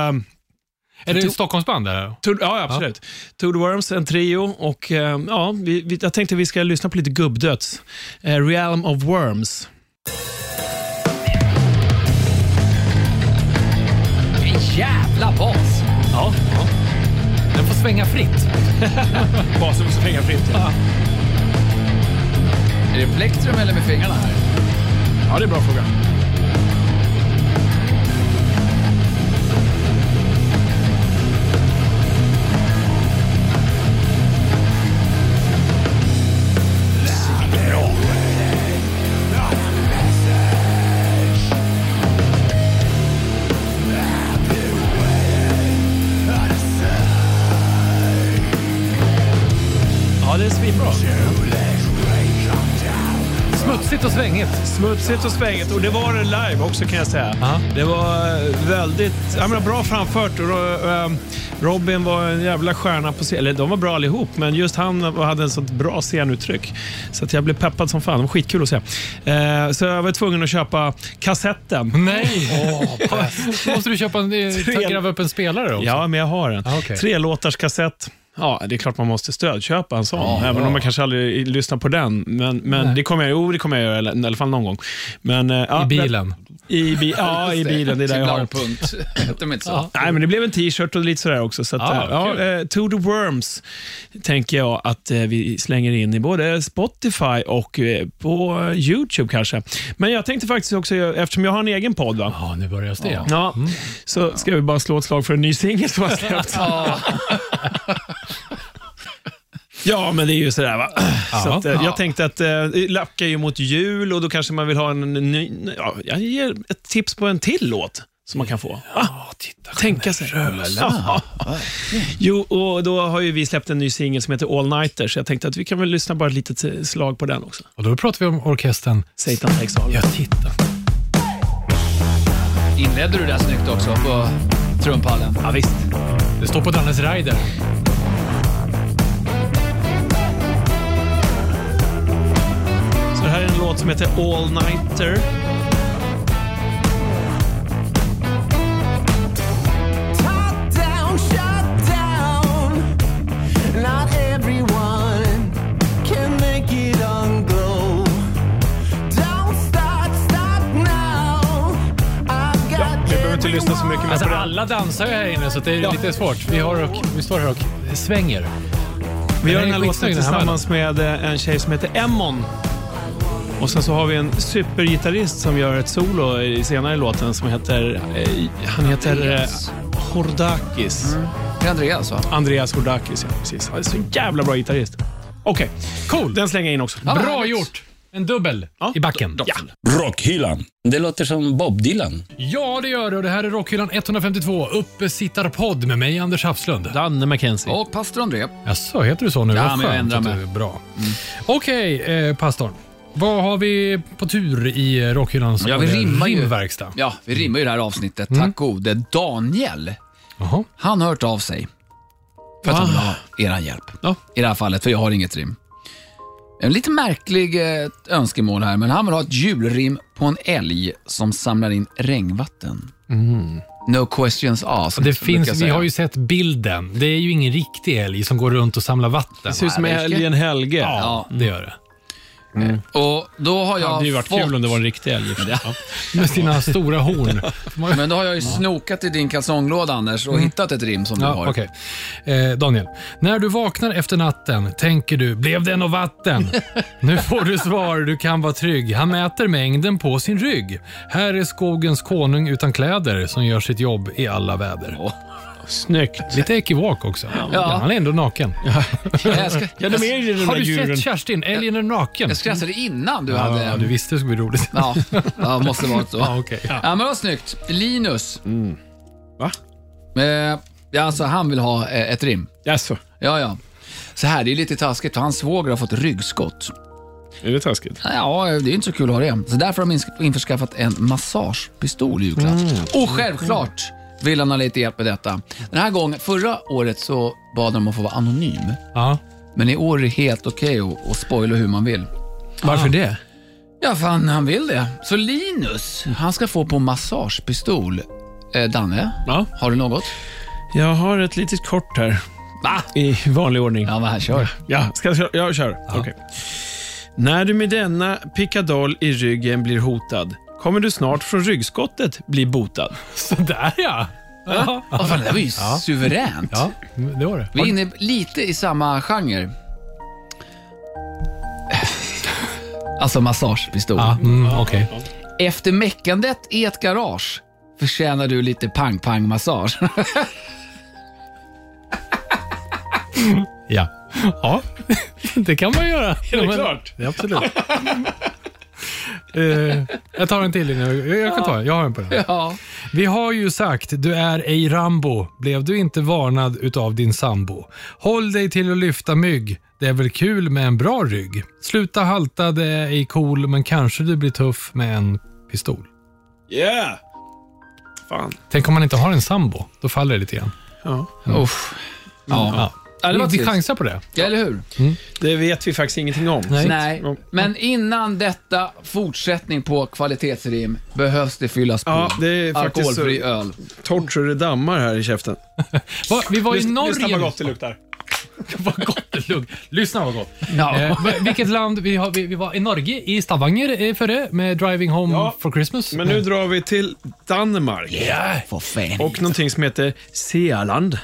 B: Är det ett Stockholmsband? Där?
C: to, ja, absolut. To the Worms, en trio. Och, eh, ja, vi, vi, jag tänkte vi ska lyssna på lite gubbdöds. Eh, Realm of Worms.
D: Vilken jävla bas!
C: Ja,
B: Den får svänga fritt.
C: basen får svänga fritt. Ja.
D: Är det plektrum eller med fingrarna här?
C: Ja, det är en bra fråga. Ja, det är svinbra.
B: Smuts. Smutsigt och svängigt.
C: Smutsigt och svängigt och det var det live också kan jag säga.
B: Ja.
C: Det var eh, väldigt jag menar, bra framfört. Och, eh, Robin var en jävla stjärna på scen. Eller de var bra allihop, men just han hade en sånt bra scenuttryck. Så att jag blev peppad som fan. Det var skitkul att se. Eh, så jag var tvungen att köpa kassetten.
B: Nej! Måste du köpa en, eh, ta- gräva upp en spelare också?
C: Ja, men jag har en.
B: Ah, okej.
C: Tre låtars kassett. Ja, det är klart man måste stödköpa en sån,
B: Ah,
C: även om man kanske aldrig lyssnar på den. Men, men det kommer jag, jo, det kommer jag göra, eller, i alla fall någon gång. Men, eh, ja,
B: I bilen.
C: I bi ja, i bilen. Det är där jag har den.
D: Chokladpunkt. Hette de inte så?
C: Nej, men det blev en t-shirt och lite sådär också. Så att,
B: Ah,
C: eh, ja,
B: kul.
C: eh, to the Worms tänker jag att eh, vi slänger in i både Spotify och eh, på eh, YouTube kanske. Men jag tänkte faktiskt också, eh, eftersom jag har en egen podd, va?
B: Ja, nu börjar det. Ja.
C: Ja, Mm. så ska vi bara slå ett slag för en ny singel som har släppts. Ja, men det är ju sådär va. Så att, eh, jag tänkte att eh, lackar ju mot jul och då kanske man vill ha en ny... Ja, jag ger ett tips på en till låt som man kan få. Va? Tänka sig. Ja. Jo, och då har ju vi släppt en ny singel som heter All Nighter, så jag tänkte att vi kan väl lyssna bara ett litet eh, slag på den också.
B: Och då pratar vi om orkestern.
C: Satan takes all.
B: Jag tittar.
D: Inledde du det här snyggt också på trumpallen?
C: Ja, visst.
B: Det står på Dannes rider.
C: Så det här är en låt som heter All Nighter.
E: Shut down, shut down. Not everyone can make it on go. Don't start, start now. I've got
C: Vi behöver inte lyssna så mycket mer
B: Alltså
C: på den.
B: alla dansar ju här inne så det är lite svårt. Vi, har och, vi står här och svänger.
C: Vi gör
B: Den
C: den
B: är
C: här låten
B: skitsnygg, den här
C: tillsammans med eh, en tjej som heter Emmon. Och sen så har vi en supergitarrist som gör ett solo i- senare i låten som heter... Eh, han heter eh, Hordakis.
B: Mm.
D: Det är Andreas va?
C: Andreas Hordakis, ja precis. Han är så jävla bra gitarrist. Okej,
B: Cool!
C: den slänger jag in också.
B: Bra gjort! En dubbel
C: Ja.
B: i backen.
C: Ja.
A: Rockhyllan. Det låter som Bob Dylan.
B: Ja, det gör det. Och det här är Rockhyllan 152, uppesittarpodd med mig, Anders Hafslund.
C: Danne McKenzie.
D: Och pastor André.
B: Jaså, heter du så nu?
D: Ja,
B: Vad
D: men jag
B: skönt
D: ändrar
B: att
D: mig.
B: du är Bra. Okej, eh, pastorn. Vad har vi på tur i eh, Rockhyllans
D: Ja, vi rimmar ju.
B: rimverkstad?
D: Ja, vi rimmar ju det här avsnittet, tack gode. Daniel,
B: Mm. Jaha. Ah.
D: han har hört av sig. För att han vill ha er hjälp.
C: Ja.
D: I det här fallet, för jag har inget rim. En lite märklig eh, önskemål här, men han vill ha ett julrim på en älg som samlar in regnvatten. No questions asked,
B: Mm. Det
D: Liksom, brukar jag
B: finns, vi
D: säga.
B: har ju sett bilden. Det är ju ingen riktig älg som går runt och samlar vatten.
C: Det ser ut som
D: Ja, det är
C: älgen Helge.
B: Ja, det gör det.
D: Och då har
C: Det
D: jag
C: hade ju varit
D: fått...
C: kul om det var en riktig älg. Ja.
B: Med sina stora horn.
D: Men då har jag ju snokat i din kalsonglåda Anders och hittat ett rim som du har.
B: Mm. Ja, okej. eh, Daniel, när du vaknar efter natten tänker du “Blev det något vatten?” Nu får du svar, du kan vara trygg. Han mäter mängden på sin rygg. Här är skogens konung utan kläder som gör sitt jobb i alla väder.
C: Snyggt.
B: Lite ekivok också.
D: Ja.
B: Han är ändå naken.
D: Jag, älskar-
C: Ja, de är ju den
B: Har
C: där
B: du
C: djuren.
B: sett Kerstin? Älgen är naken.
D: jag skrattade innan du hade...
B: Ja, du visste det skulle bli roligt.
D: Ja, ja måste vara så.
B: Ja, okej.
D: Ja, men vad snyggt. Linus.
C: Mm. Va?
D: Eh, ja, alltså, han vill ha eh, ett rim.
C: Jaså,
D: Ja, ja. Så här, det är lite taskigt för hans svåger har fått ryggskott.
C: är det taskigt?
D: Ja, det är ju inte så kul att ha det. Så därför har de ins- införskaffat en massagepistol i julklapp.
C: Mm.
D: Och självklart vill han ha lite hjälp med detta. Den här gången, förra året så bad de om att få vara anonym.
B: Ja.
D: Men i år är det helt okej att- att spoila hur man vill.
B: Ah.
C: Varför det?
D: Ja, fan han vill det. Så Linus, han ska få på massagepistol. Eh, Danne,
C: Ja.
D: har du något?
C: Jag har ett litet kort här.
D: Va?
C: I vanlig ordning.
D: Ja, men här, kör.
C: Ja, ska jag, köra? jag kör. Okej. När du med denna pickadoll i ryggen blir hotad kommer du snart från ryggskottet bli botad.
B: Sådär ja. ja.
D: Ja, fan, det där var ju suveränt.
B: Ja, det var det.
D: Vi är inne lite i samma genre. Alltså massagepistol.
B: Ja, mm, okej.
D: Efter meckandet i ett garage förtjänar du lite pang-pang-massage.
B: Ja. ja, det kan man göra. Är
C: klart?
B: Ja, absolut. Eh, jag tar en till nu. Jag, jag kan ta en. Jag har en på den.
D: Ja.
B: Vi har ju sagt, du är ej Rambo. Blev du inte varnad utav din sambo? Håll dig till att lyfta mygg. Det är väl kul med en bra rygg? Sluta halta, det är ej cool, men kanske du blir tuff med en pistol.
C: Yeah! Fan.
B: Tänk om man inte har en sambo. Då faller det lite grann.
D: Uff. Mm. Ja.
B: Ja.
D: Ja, det var
B: vi vi
D: trist.
B: chansar på det.
D: Ja, eller hur?
C: Det vet vi faktiskt ingenting om.
B: Nej.
D: Nej, men innan detta fortsättning på kvalitetsrim behövs det fyllas på.
C: Ja, det är faktiskt
D: Alkoholfri
C: så-
D: öl.
C: Torrt så det dammar här i käften.
B: Va, vi var i Norge.
C: Lyssna vad gott det luktar.
B: vad gott det lugg. Lyssna vad gott.
D: Ja.
B: Eh, va- vilket land? Vi, har, vi, vi var i Norge, i Stavanger eh, före med Driving Home
C: Ja,
B: for Christmas.
C: Men nu drar vi till Danmark
D: För fan.
C: och någonting som heter Sealand.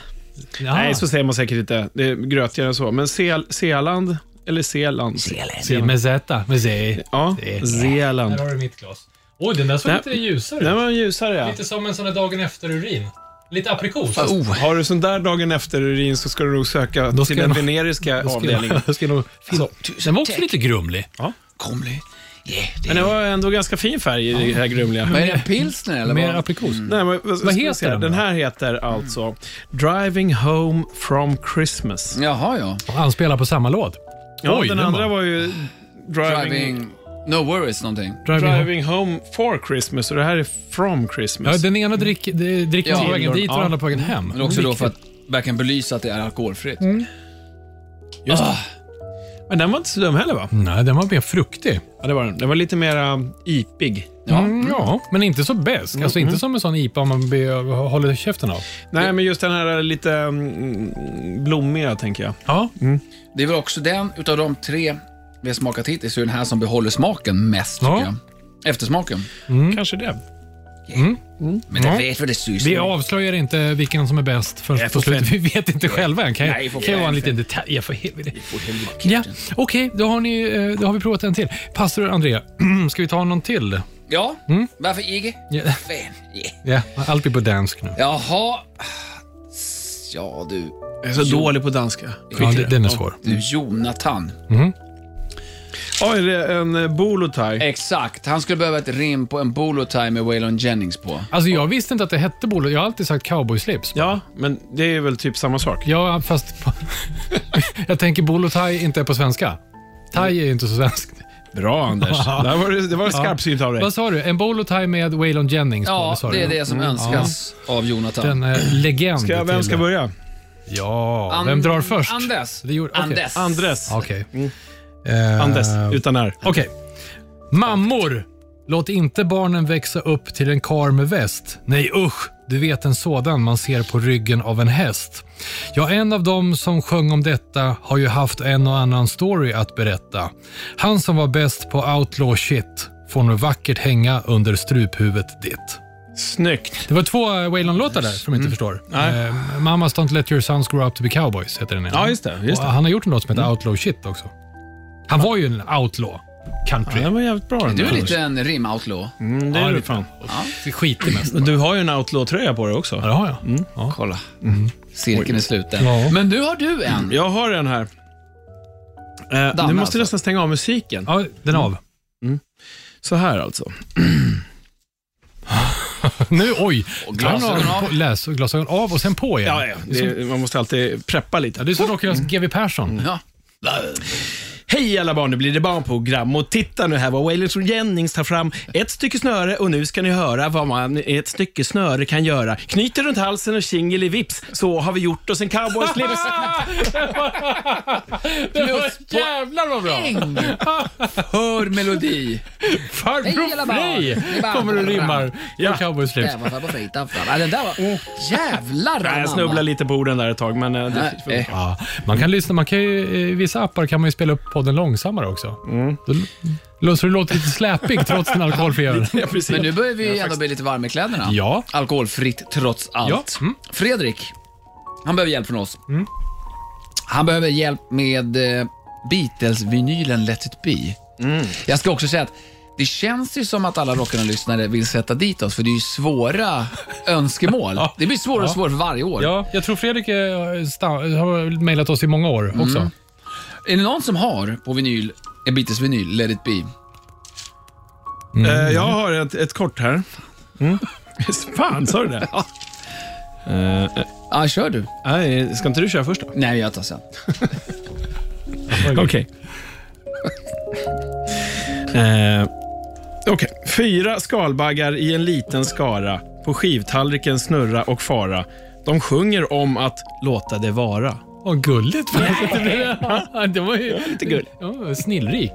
B: Ja.
C: Nej, så säger man säkert inte. Det är grötigare än så. Men Seal- Sealand, eller Sealand.
B: Se, Med Z, med Z.
C: Ja, Zeeland.
B: Här har du mitt glas. Oj, den där såg
C: Nej.
B: lite ljusare
C: Den
B: ut.
C: var ljusare ja.
B: Lite som en sån där dagen efter-urin. Lite aprikos.
D: Oh,
C: Har du sån där dagen efter urin så ska du nog söka
B: Då ska
C: till
B: jag nog-
C: den veneriska
B: Då ska jag-
C: avdelningen.
B: då ska jag nog finna- Den var också lite grumlig.
D: kom nu. Yeah, det
C: Men det var ändå ganska fin färg i det här grumliga.
D: Men är det en pilsner eller?
B: Mer
D: vad?
B: aprikos.
C: Nej, men, vad ska vi
B: heter
C: se?
B: den då?
C: Den här heter alltså Driving Home from Christmas.
D: Jaha, ja.
B: Han spelar på samma låt.
C: Ja,
B: Oj,
C: den
B: den var-
C: andra var ju driving,
D: Driving... No worries någonting.
B: Driving Home.
C: driving Home for Christmas och det här är From
B: Ja,
C: Christmas.
B: den ena drick- de- dricker man
D: Ja.
B: på vägen dit och den
C: Ja.
B: andra på vägen hem.
D: Men också då för att verkligen belysa att det är alkoholfritt. Just det.
C: Men den var inte så dum heller va?
B: Nej, den var mer fruktig.
C: Ja, det var den. Den var lite mer ipig.
D: Ja.
B: Mm, ja, men inte så besk. Alltså inte som en sån IPA man be, håller käften av.
C: Nej, men just den här lite mm, blommiga tänker jag.
B: Ja,
D: Det är väl också den utav de tre vi har smakat hittills, så är den här som behåller smaken mest,
B: Ja.
D: tycker jag. Eftersmaken.
C: Kanske det.
D: Men det
B: Ja.
D: vet vi det syns.
B: vi avslöjar inte vilken som är bäst förrän på slutet. Vi vet inte själva än. Kan ju-
D: Nej, för
B: kan ju vara en
D: fan.
B: liten detalj. Ja, för helvete. Ja, okej, då, har ni, eh, då har vi provat en till. Pastor Andrea, ska vi ta någon till?
D: Ja, varför Iggy?
B: Ja.
D: Fan, yeah.
B: Ja, allt blir på dansk nu.
D: Jaha. Ja du,
C: Jag är så dålig på danska.
B: Ja, det- den är svår.
D: du Jonathan.
C: Ja, är det en eh, bolotaj?
D: Exakt, han skulle behöva ett rim på en bolotie med Waylon Jennings på.
B: Alltså, jag visste inte att det hette bolo. Jag har alltid sagt cowboyslips.
C: Ja, men det är väl typ samma sak.
B: Ja, fast på, jag tänker bolo thai inte är på svenska. Thai är ju inte så svenskt.
C: Bra Anders. Där var det, det var skarpsynt av dig.
B: Vad sa du? En bolo thai med Waylon Jennings på?
D: Ja,
B: sa
D: det
B: du?
D: är det som önskas av Jonathan.
B: Den är legend.
C: Ska, vem
B: till-
C: ska börja?
B: Ja,
D: An-
B: vem drar först?
D: Andes.
B: Det gjorde- okej.
D: Andes.
C: Andres.
B: Okej.
C: Mm. Andes,
B: Eh,
C: utan R.
B: Okej. Mammor, låt inte barnen växa upp till en kar med väst. Nej usch, du vet en sådan man ser på ryggen av en häst. Ja, en av dem som sjöng om detta har ju haft en och annan story att berätta. Han som var bäst på outlaw shit får nu vackert hänga under struphuvudet ditt.
C: Snyggt.
B: Det var två eh, Waylon-låtar där som jag
C: Mm.
B: inte förstår. Eh, Mamas Don't Let Your Sons Grow Up To Be Cowboys heter den ena.
C: Ja, just det. Just
B: Och
C: det. Mm.
B: han har gjort en låt som heter Outlaw Shit också. Han var ju en outlaw. Country.
C: Ja, den var jävligt bra den
D: Du är
C: där.
B: Mm.
D: lite en rim-outlaw.
C: Mm, det
B: Ja,
C: är
B: det-
C: du fan.
B: Skitig mest.
C: Men Du har ju en outlaw-tröja på dig
B: Ja,
C: också.
B: det har jag. Ja. Mm.
D: Kolla. Cirkeln är sluten.
B: Ja. Mm.
D: Men nu har du en.
C: Jag har den här. Eh,
D: Dan,
C: nu måste
D: alltså.
C: jag nästan stänga av musiken.
B: ja, den av.
C: Mm. Så här alltså.
B: Nu, oj!
D: Och glasögon
B: Han har
D: av.
B: på- Läs, glasögon av och sen på igen.
C: Ja, Mm. ja. Det, man måste alltid preppa lite.
B: Ja, du är som Rockylas GW Persson.
D: Ja.
C: Hej alla barn, nu blir det barnprogram och titta nu här vad Wailers och Jennings tar fram. Ett stycke snöre och nu ska ni höra vad man i ett stycke snöre kan göra. Knyter runt halsen och tjingel i vips, så har vi gjort oss en cowboyslips.
D: Plus på
B: Jävlar vad bra!
D: äng. Hör melodi. Hej,
B: Farbror
D: alla barn.
B: Frej
D: Det är bara-
B: kommer och rimmar
C: Ja.
B: på cowboyslips.
D: Där var farbror Frej utanför. Ja, Den där var... Jävlar
C: Nej, jag
D: anamma.
C: snubblade lite på orden där ett tag, men eh, det,
D: Eh,
B: Ja, man kan lyssna, man kan ju, i vissa appar kan man ju spela upp podden långsammare också.
C: Mm.
B: Då, l- så du låter lite släpig trots den alkoholfria ölen.
C: ja, precis.
D: Men nu börjar vi ju ändå bli lite varma i kläderna.
B: Ja.
D: Alkoholfritt trots allt.
B: Ja, mm.
D: Fredrik, han behöver hjälp från oss. Han behöver hjälp med eh, Beatles-vinylen Let it be. Jag ska också säga att det känns ju som att alla rockarna-lyssnare vill sätta dit oss, för det är ju svåra önskemål. Det blir svårare och svårare för varje år.
B: Ja, jag tror Fredrik eh, sta- har mejlat oss i många år också.
D: Är det någon som har på vinyl, en Beatles-vinyl, Let it be?
B: Mm.
C: Eh, jag har ett, ett kort här. Mm. Fan, sa du det? Eh, eh,
D: Ja, kör du.
C: nej, ska inte du köra först då?
D: Nej, jag tar sen.
C: Okej. eh, okej. Fyra skalbaggar i en liten skara på skivtallriken snurra och fara. De sjunger om att låta det vara.
B: Vad gulligt faktiskt. Det var ju lite
C: gulligt.
B: Ja, snillrik.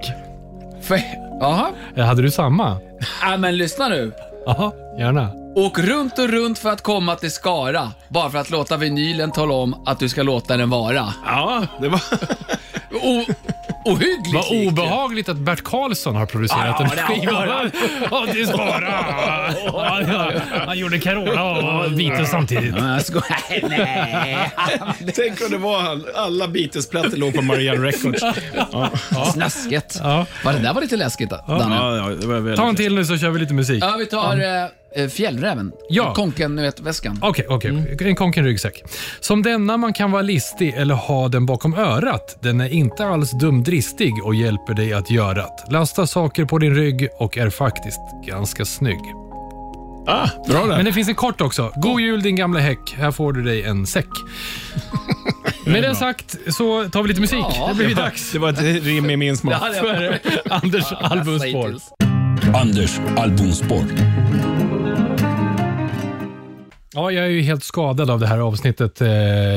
D: För- Jaha.
B: Eh, Hade du samma?
D: Ja, men lyssna nu.
B: Ja, gärna.
D: Åk runt och runt för att komma till Skara, bara för att låta vinylen tala om att du ska låta den vara.
C: Ja, det var...
D: O- ohyggligt
B: Vad
D: likt.
B: obehagligt att Bert Karlsson har producerat
D: Ja,
B: en
D: det har
B: skiva. Ja, det är Skara. Ja, ja. Han gjorde Carola och Beatles samtidigt.
D: Nej, jag skojar. Nej,
C: Tänk om det var alla Beatles-plattor låg på Marianne Records.
D: snaskigt.
B: Ja.
D: Var det där var lite läskigt, Danne. Ja,
C: ja, det var väldigt...
B: Ta en till nu så kör vi lite musik.
D: vi tar eh, Fjällräven.
B: Ja.
D: Konken, Mm. vet, väskan.
B: Okej, okej. En konken ryggsäck. Som denna man kan vara listig eller ha den bakom örat. Den är inte alls dumdristig och hjälper dig att göra det. Lasta saker på din rygg och är faktiskt ganska snygg.
C: Ah, bra där.
B: Men det finns en kort också. God jul din gamla häck. Här får du dig en säck. Med det sagt så tar vi lite musik.
D: Ja.
B: det blir ju dags.
C: Det var ett rim i min smak.
B: för Anders albumspår.
D: Hittills.
A: Anders albumspår.
B: Ja, jag är ju helt skadad av det här avsnittet eh,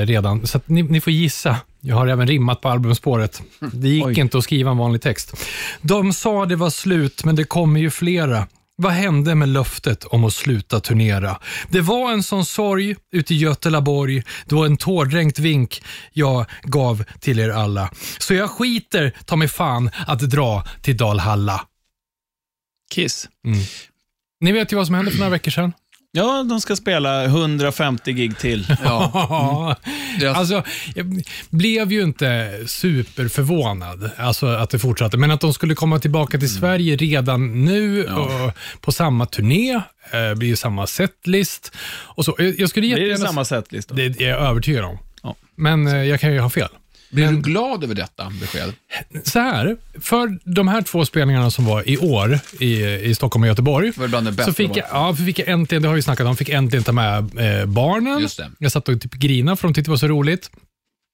B: redan, så att ni, ni får gissa. Jag har även rimmat på albumspåret. Det gick inte att skriva en vanlig text. De sa det var slut, men det kommer ju flera. Vad hände med löftet om att sluta turnera? Det var en sån sorg ute i Götelaborg då en tårdränkt vink jag gav till er alla. Så jag skiter ta mig fan att dra till Dalhalla.
F: Kiss.
B: Ni vet ju vad som hände för några veckor sedan.
F: Ja, de ska spela 150 gig till.
D: Ja. Deras-
B: Alltså, jag blev ju inte superförvånad alltså, att det fortsatte, men att de skulle komma tillbaka
F: Mm.
B: till Sverige redan nu och på samma turné, eh, blir ju samma setlist och så. Jag, jag skulle
F: Blir det
B: jättegärna...
F: samma setlist? då?
B: det är jag övertygad om. Men eh, jag kan ju ha fel.
D: Blir du glad över detta besked?
B: Så här, för de här två spelningarna som var i år i, i Stockholm och Göteborg,
D: var bland det bästa
B: så fick
D: de
B: jag, ja, för fick jag äntligen, det har vi snackat om, fick äntligen ta med eh, barnen.
D: Just det.
B: Jag satt och typ grinade för de tyckte det var så roligt.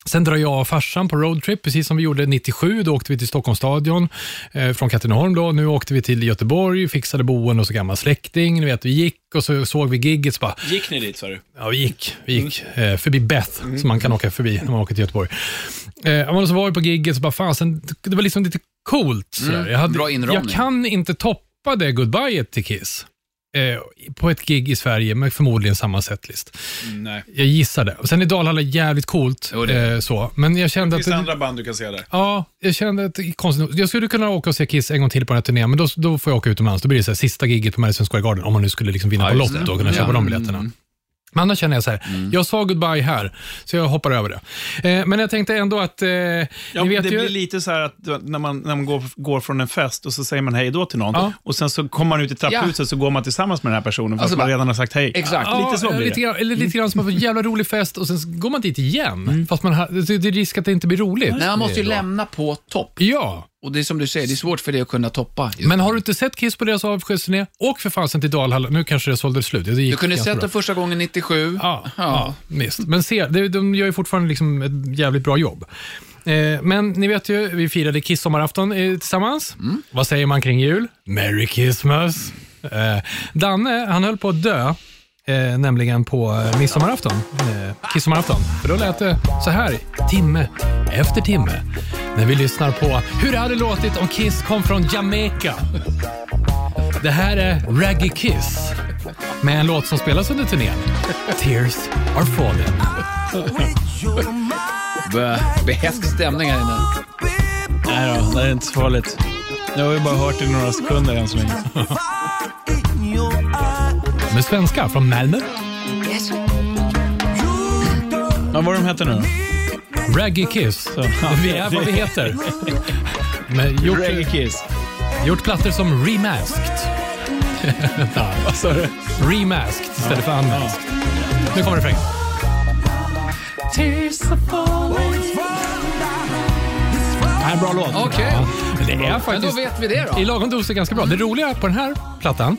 B: Sen drar jag och farsan på roadtrip, precis som vi gjorde 97. Då åkte vi till Stockholmsstadion eh, från Katrineholm. Då. Nu åkte vi till Göteborg, fixade boende och så gammal släkting. Ni vet, vi gick och så såg vi gigget. Så bara,
F: Gick ni dit, sa du?
B: Ja, vi gick. Vi gick
D: Mm.
B: eh, förbi Beth, som man kan åka förbi när man åker till Göteborg. Eh, men så var vi på gigget så bara, fasen, det var liksom lite coolt. sådär. jag, hade,
D: Mm. bra inramning.
B: jag kan inte toppa det goodbye till Kiss eh, på ett gig i Sverige med förmodligen samma setlist.
F: Nej.
B: Jag gissar det. Och sen är Dalhalla jävligt coolt,
D: Jo, det är
B: eh, så. men jag kände att...
F: Finns det andra band du kan se där?
B: Ja, jag kände att det är konstigt nog- Jag skulle kunna åka och se Kiss en gång till på den här turnén, men då, då får jag åka utomlands. Då blir det så här, sista giget på Madison Square Garden, om man nu skulle liksom vinna på
D: just
B: Lotto och kunna köpa de
F: Mm.
B: biljetterna. Men annars känner jag så här, jag sa goodbye här, så jag hoppar över det. Eh, men jag tänkte ändå att, eh,
F: Ja,
B: ni
F: men
B: vet
F: det
B: ju...
F: blir lite så här att du- när man, när man går, går från en fest och så säger man hej då till någon
B: Ja.
F: och sen så kommer man ut i trapphuset så går man tillsammans med den här personen fast
D: Alltså
F: man
D: bara-
F: redan har sagt hej.
D: Exakt.
F: Ja, lite så
B: Ja,
F: blir
B: lite
F: det.
B: grann, eller lite grann som att en jävla rolig fest och sen så går man dit igen.
F: Mm.
B: Fast man har, det det är risk att det inte blir roligt.
D: Nej, man måste ju
B: Det är då.
D: lämna på topp.
B: Ja,
D: Och det är som du säger, det är svårt för dig att kunna toppa.
B: men har du inte sett Kiss på deras avskedsturné, åk för fasen till Dalhalla. Nu kanske det sålde slut. Det
D: Du
B: gick
D: kunde
B: ganska
D: sett
B: bra.
D: det första gången 97.
B: Ja, ja. visst. Men se, de, de gör ju fortfarande liksom ett jävligt bra jobb. Eh, men ni vet ju, vi firade Kiss-sommarafton eh, tillsammans. Vad säger man kring jul? Merry Christmas! Eh, Danne, han höll på att dö, eh, nämligen på eh, midsommarafton. Eh, Kiss-sommarafton. För då lät det så här, timme efter timme, när vi lyssnar på hur det hade låtit om Kiss kom från Jamaica. Det här är Raggy Kiss med en låt som spelas under turnén. Tears are falling.
D: Bä- Behäsk stämning här inne.
F: Nej då, det är inte så farligt. Jag har ju bara hört det i några sekunder än så länge.
B: Med svenska från Malmö.
F: Ja, vad de heter nu då?
B: Raggy Kiss. Vi är vad vi heter. Med
F: Reggae
B: gjort,
F: Kiss.
B: gjort plattor som Remasked.
F: Vad sa du?
B: Remasked istället för Unmasked. Nu kommer refrängen. här är en bra låt.
D: Okej.
B: Ja, men det är
D: Men då
B: faktiskt
D: vet vi det
B: i
D: då.
B: lagom doser ganska bra. Det roliga på den här plattan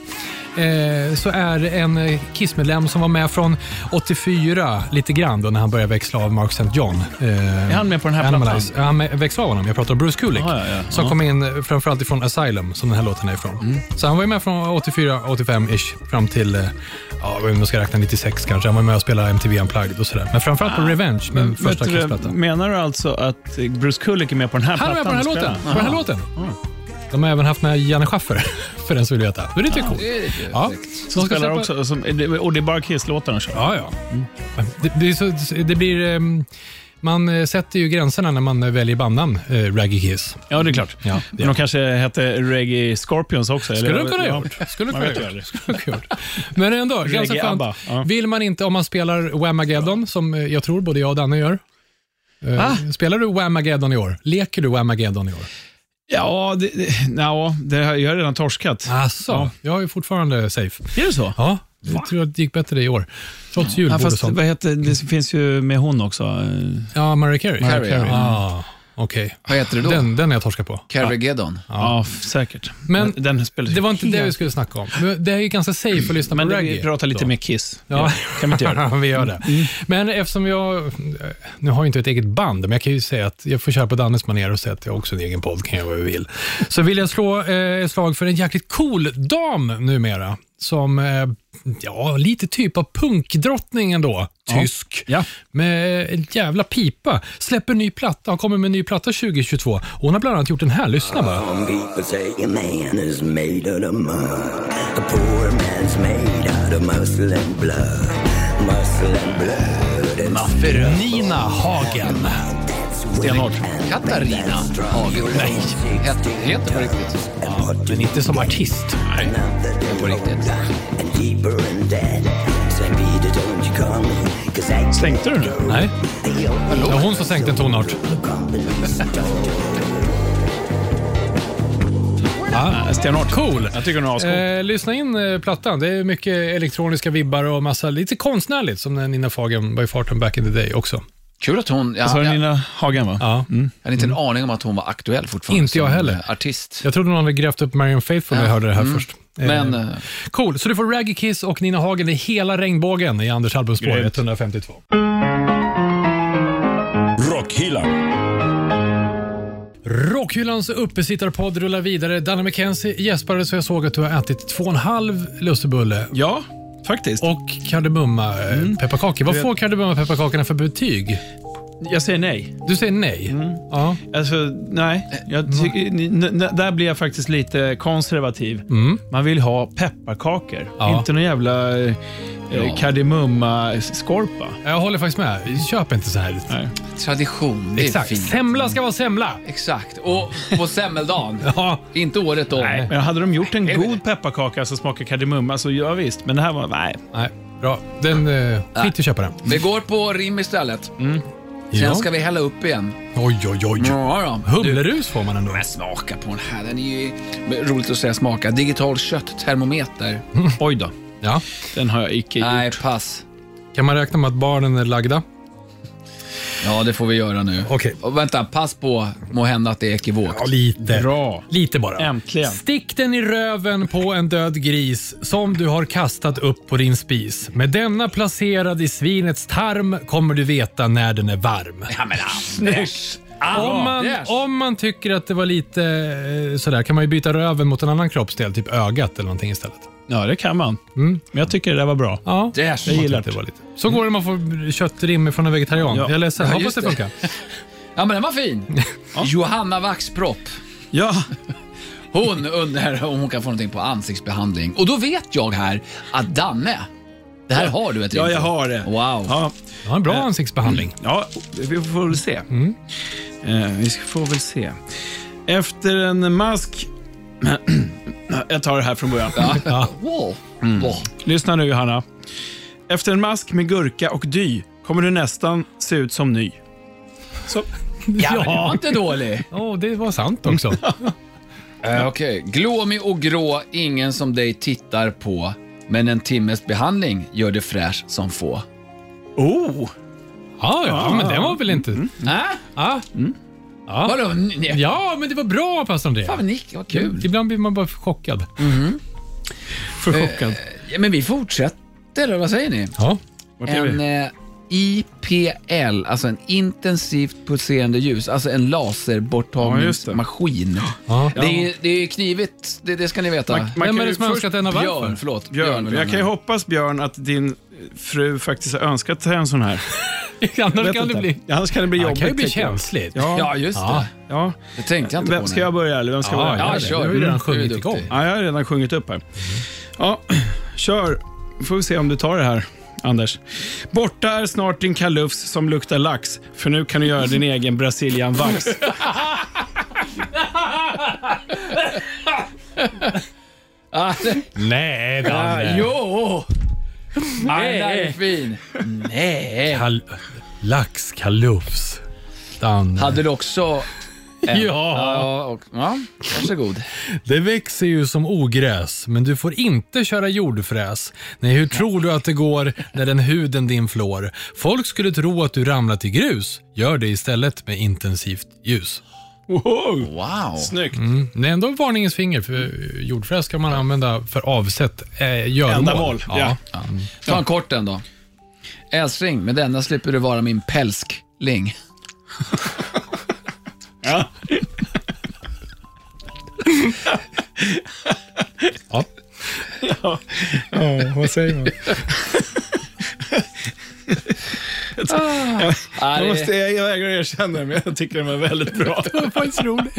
B: eh, så är det en eh, Kiss-medlem som var med från 84 lite grann då när han började växla av Mark St. John. Eh,
C: Är han med på den här
B: Animalize. Ja, Han med- växlade av honom. Jag pratar om Bruce Kulick
C: Ja, ja, Mm. ja.
B: som kom in eh, framförallt ifrån Asylum som den här låten är ifrån. Så han var ju med från 84-85-ish fram till, eh, ja, om jag ska räkna 96 kanske. Han var med och spelade MTV Unplugged och sådär. Men framförallt på Revenge, min första
C: Ah. Vet du,
B: Kiss-platta.
C: menar du alltså att Bruce Kulick är med på den här
B: Han är med
C: plattan? Mm.
B: på den här
C: du
B: låten.
C: spelar?
B: På den här låten. De har även haft med Janne Schaffer, för den som vill veta. Det är lite coolt. Ja. Så
C: Som
B: de ska
C: spelar
B: släppa-
C: också, Mm. som, och det är bara Kiss-låtar de kör?
B: Ja, ja. Det, det, är så, det blir... ehm, Man eh, sätter ju gränserna när man eh, väljer bandnamn, eh, Raggy Kiss.
C: Ja, det är klart.
B: Ja,
C: Men de kanske hette Reggae Scorpions också?
B: Skulle
C: eller?
B: du kunna
C: Ja.
B: gjort. Skulle du
C: Man
B: kunna
C: vet ju
B: gjort.
C: aldrig.
B: Skulle du kunna gjort. Men ändå, ganska
C: Reggae
B: skönt.
C: ABBA, ja.
B: Vill man inte, om man spelar Whamageddon, som eh, jag tror både jag och Danne gör. Eh,
C: Ah!
B: Spelar du Whamageddon i år? Leker du Whamageddon i år?
C: Ja, det, det, nja, det har, jag har redan torskat.
B: Alltså, jag är fortfarande safe.
C: Är det så?
B: Ja, jag tror att det gick bättre i år. Trots
C: Ja,
B: julbord och
C: fast
B: sånt.
C: vad heter, det finns ju med hon också. eh,
B: Ja, Mariah Carey.
D: Carey, ja.
B: Ah, Okej,
D: Vad heter det då?
B: den, den är jag torskar på.
D: Carrigeddon.
C: Ja, f- säkert.
B: Men
C: den spelar
B: Det var inte det vi skulle snacka om. Men Det är ju ganska safe att lyssna
C: Men
B: på
C: vi
B: reggae.
C: pratar lite
B: då.
C: mer Kiss.
B: Ja.
C: Kan vi inte göra? Mm.
B: vi gör det. Men eftersom jag, eh, nu har jag inte ett eget band, men jag kan ju säga att jag får köra på Dannes manér och säga att jag har också en egen podd, kan jag vad jag vill. Så vill jag slå eh, ett slag för en jäkligt cool dam numera, som, eh, ja, lite typ av punkdrottning ändå, tysk.
C: Ja.
B: Med eh, en jävla pipa. Släpper ny platta, har kommit med en ny platta 2022. Och hon har bland annat gjort den här, lyssna bara.
E: Some people say a man is made out of mud. A poor man's made out of muscle and blood. Muscle and blood. And
B: Nina Hagen.
C: Stenhårt.
D: Katarina Hagen. Nej. Hette heter på riktigt.
B: Men inte som artist.
D: På riktigt.
E: And deeper in debt. Saint Peter, don't you call me. Cause I
C: Tänkte du nu?
B: Nej. Det var hon som sänkte en tonart.
C: Ja, Stenhårt.
B: Cool.
C: Jag tycker den är ascool.
B: Eh, lyssna in eh, plattan. Det är mycket elektroniska vibbar och massa lite konstnärligt som när Nina Fagen var i farten back in the day också.
D: Kul att hon... Jag,
C: Så är
D: jag,
C: det
D: jag
C: Alltså, Nina Hagen, va?
B: Ja.
D: hade inte en aning om att hon var aktuell fortfarande.
B: Inte jag
D: som
B: heller.
D: Artist.
B: Jag trodde någon hade grävt upp Marion Faithfull när jag hörde det här först. Eh,
D: Men eh,
B: Cool, så du får Raggy Kiss och Nina Hagen i hela regnbågen i Anders albumspår
C: Grymt.
B: 152.
A: Rockhyllan.
B: Rockhyllans uppesittarpodd rullar vidare. Danne McKenzie gäspade så jag såg att du har ätit två och en halv lussebulle
C: Ja, faktiskt.
B: och kardemumma eh, pepparkakor. Vad får kardemumma pepparkakorna för betyg?
C: jag säger nej.
B: Du säger nej? Ja.
C: Alltså, nej. Jag
B: Eh,
C: tycker- n- n- där blir jag faktiskt lite konservativ. Man vill ha pepparkakor.
B: Mm. Ja.
C: Inte någon jävla eh, kardemumma-skorpa.
B: Jag håller faktiskt med. Köp inte så här.
C: Nej.
D: tradition, det är
B: Exakt.
D: fint.
B: Semla ska vara semla.
D: Exakt. Och på semmeldagen.
B: Ja.
D: Inte året om.
C: Nej, men hade de gjort en
D: Nej.
C: god pepparkaka som smakar kardemumma så ja visst. Men det här var, nej.
B: Nej, bra. Den, eh, skit i att köpa den.
D: Vi går på rim istället.
B: Mm.
D: Sen ska vi hälla upp igen.
B: Oj, oj, oj.
D: Ja, då.
B: Humlerus får man ändå.
D: Men smaka på den här. Den är ju men roligt att säga smaka. Digital kötttermometer.
C: Oj då.
B: Ja.
C: Den har jag icke
D: Nej, pass.
B: Kan man räkna med att barnen är lagda?
D: Ja, det får vi göra nu.
B: Okej.
D: Och vänta, pass på må hända att det är ekivokt.
B: lite.
C: Bra.
B: Lite bara.
C: Äntligen.
B: Stick den i röven på en död gris som du har kastat upp på din spis. Med denna placerad i svinets tarm kommer du veta när den är varm.
D: Ja, men, ah.
C: Snyggt.
B: Om man,
D: Yes.
B: om man tycker att det var lite eh, sådär kan man ju byta röven mot en annan kroppsdel, typ ögat eller någonting istället.
C: Ja, det kan man. Men jag tycker det där var bra.
B: Ja,
D: Yes.
B: jag
C: gillar
B: gillar det. Var lite. Så går det när man får köttrim från en vegetarian.
C: Ja.
B: Jag är ledsen,
D: Ja,
B: hoppas
D: just
B: det
D: det.
B: funkar.
D: ja, men den var fin. Johanna Waxpropp.
C: Ja,
D: Hon undrar om hon kan få någonting på ansiktsbehandling. Och då vet jag här att Danne, det här har du ett rim
C: ja jag
D: på.
C: har det.
D: Wow.
C: Ja,
B: Ja, en bra
D: Mm.
B: ansiktsbehandling.
C: ja, vi får väl se.
B: Mm.
C: Eh, vi får väl se. Efter en mask... jag tar det här från början.
D: Wow.
C: Mm.
D: Wow.
C: Lyssna nu, Johanna. Efter en mask med gurka och dy kommer du nästan se ut som ny. Så,
D: Ja, det var inte dålig.
B: Åh, det var sant också.
D: Eh, Okej. Glåmig och grå, ingen som dig tittar på. Men en timmes behandling gör dig fräsch som få.
C: oh!
D: Mm.
C: Mm.
B: Ja, ja, men det var väl inte...
D: Äh?
B: Ja. Ja.
D: Vadå? Nej.
B: ja, men det var bra pastor André.
D: Fan vad nick, vad
C: Mm.
D: kul. Mm.
B: Ibland blir man bara chockad. Eh,
C: För chockad.
D: Ja, men vi fortsätter, eller vad säger ni?
B: Ja.
C: Vart är
D: En
C: vi?
D: eh, IPL, alltså en intensivt pulserande ljus, alltså en
C: Ja, just det.
D: laserborttagningsmaskin.
B: Ja.
D: Det är, det är knivigt, det, det ska ni veta.
C: Man- man
B: Vem
C: kan
B: är det
C: ju
B: som har
C: först-
B: önskat den av
D: Björn,
B: varför?
D: förlåt.
C: Björn,
D: vill
C: jag kan ju
D: ha
C: hoppas Björn att din fru faktiskt har önskat sig en sån här.
B: Annars kan
C: Vet
B: det
C: inte.
B: bli...
C: Annars kan det bli
B: Det
C: jobbigt.
B: kan ju bli
C: tycker jag.
B: känsligt.
C: Ja,
D: den.
C: ja.
D: Ja, just
B: Ja.
D: det. Det tänkte jag inte
C: Vem
D: på.
C: ska
D: nu.
C: jag börja eller vem ska
B: Ja,
C: börja?
B: gör
D: Ja,
B: det.
D: kör.
B: Du har ju
D: Mm,
B: redan
D: du är
B: sjungit
D: duktig.
B: igång.
C: Ja, jag har redan sjungit upp här. Ja, kör. Får vi se om du tar det här, Anders. Borta är snart din kalufs som luktar lax, för nu kan du göra din egen Brazilian vax.
B: Nej, Danne.
D: Jo! Nej, den där
B: Eh.
D: är fin. Nej.
B: Kal- Laxkalufs. Danne.
D: Hade du också en?
B: Ja.
D: ja, och, ja varsågod.
B: Det växer ju som ogräs, men du får inte köra jordfräs. Nej, hur tror du att det går när den huden din flår? Folk skulle tro att du ramlat i grus. Gör det istället med intensivt ljus.
C: Wow!
D: Wow.
C: Snyggt.
B: Mm. Det är ändå varningens finger, för jordfräs kan man använda för avsett eh, göromål.
C: Ändamål, ja.
D: Ta en kort en då. Älskling, med denna slipper du vara min pälskling.
C: Ja.
B: Ja.
C: vad säger man?
D: Ah,
C: Jag,
D: det-
C: måste, jag vägrar erkänna det, men jag tycker den var väldigt bra.
B: Det var faktiskt roligt.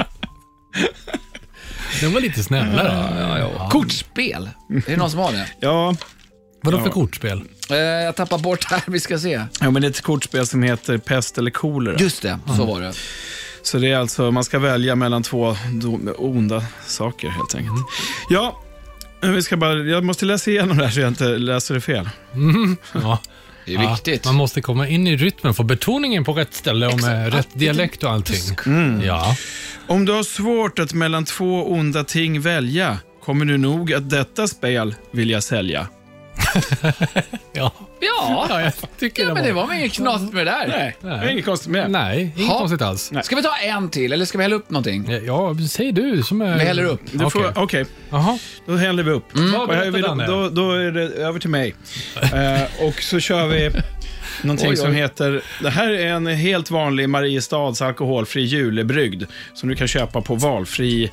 B: Den var lite snällare.
D: Kortspel. Är det någon som har det?
C: Ja,
B: Vadå för kortspel?
D: Eh, jag tappar bort här, vi ska se.
C: ja men det är ett kortspel som heter Pest eller kolera.
D: Just det, så var det.
C: Så det är alltså, man ska välja mellan två do- onda saker helt enkelt. Ja, vi ska bara, jag måste läsa igenom det här så jag inte läser det fel.
B: Ja.
D: Det är viktigt.
B: Ja, man måste komma in i rytmen, få betoningen på rätt ställe och med rätt dialekt och allting.
C: Mm.
B: Ja.
C: Om du har svårt att mellan två onda ting välja kommer du nog att detta spel vilja sälja.
B: Ja.
D: Ja,
B: ja, jag tycker
D: ja,
B: det,
D: men det var väl inget knasigt med det där.
C: Nej, det är inget konstigt med.
B: Nej, inget
D: Ha.
B: konstigt alls.
D: Ska vi ta en till, eller ska vi hälla upp någonting?
B: Ja, säg du som är...
D: Vi häller upp.
C: Du får-
B: Okej.
C: Okej,
B: Jaha.
C: då häller vi upp.
B: Mm. Vad
C: Och här är vi,
B: berättar Danne?
C: då, då är det över till mig. eh, och så kör vi någonting
D: Oj,
C: som
D: oj.
C: heter... Det här är en helt vanlig Mariestads alkoholfri julebrygd som du kan köpa på valfri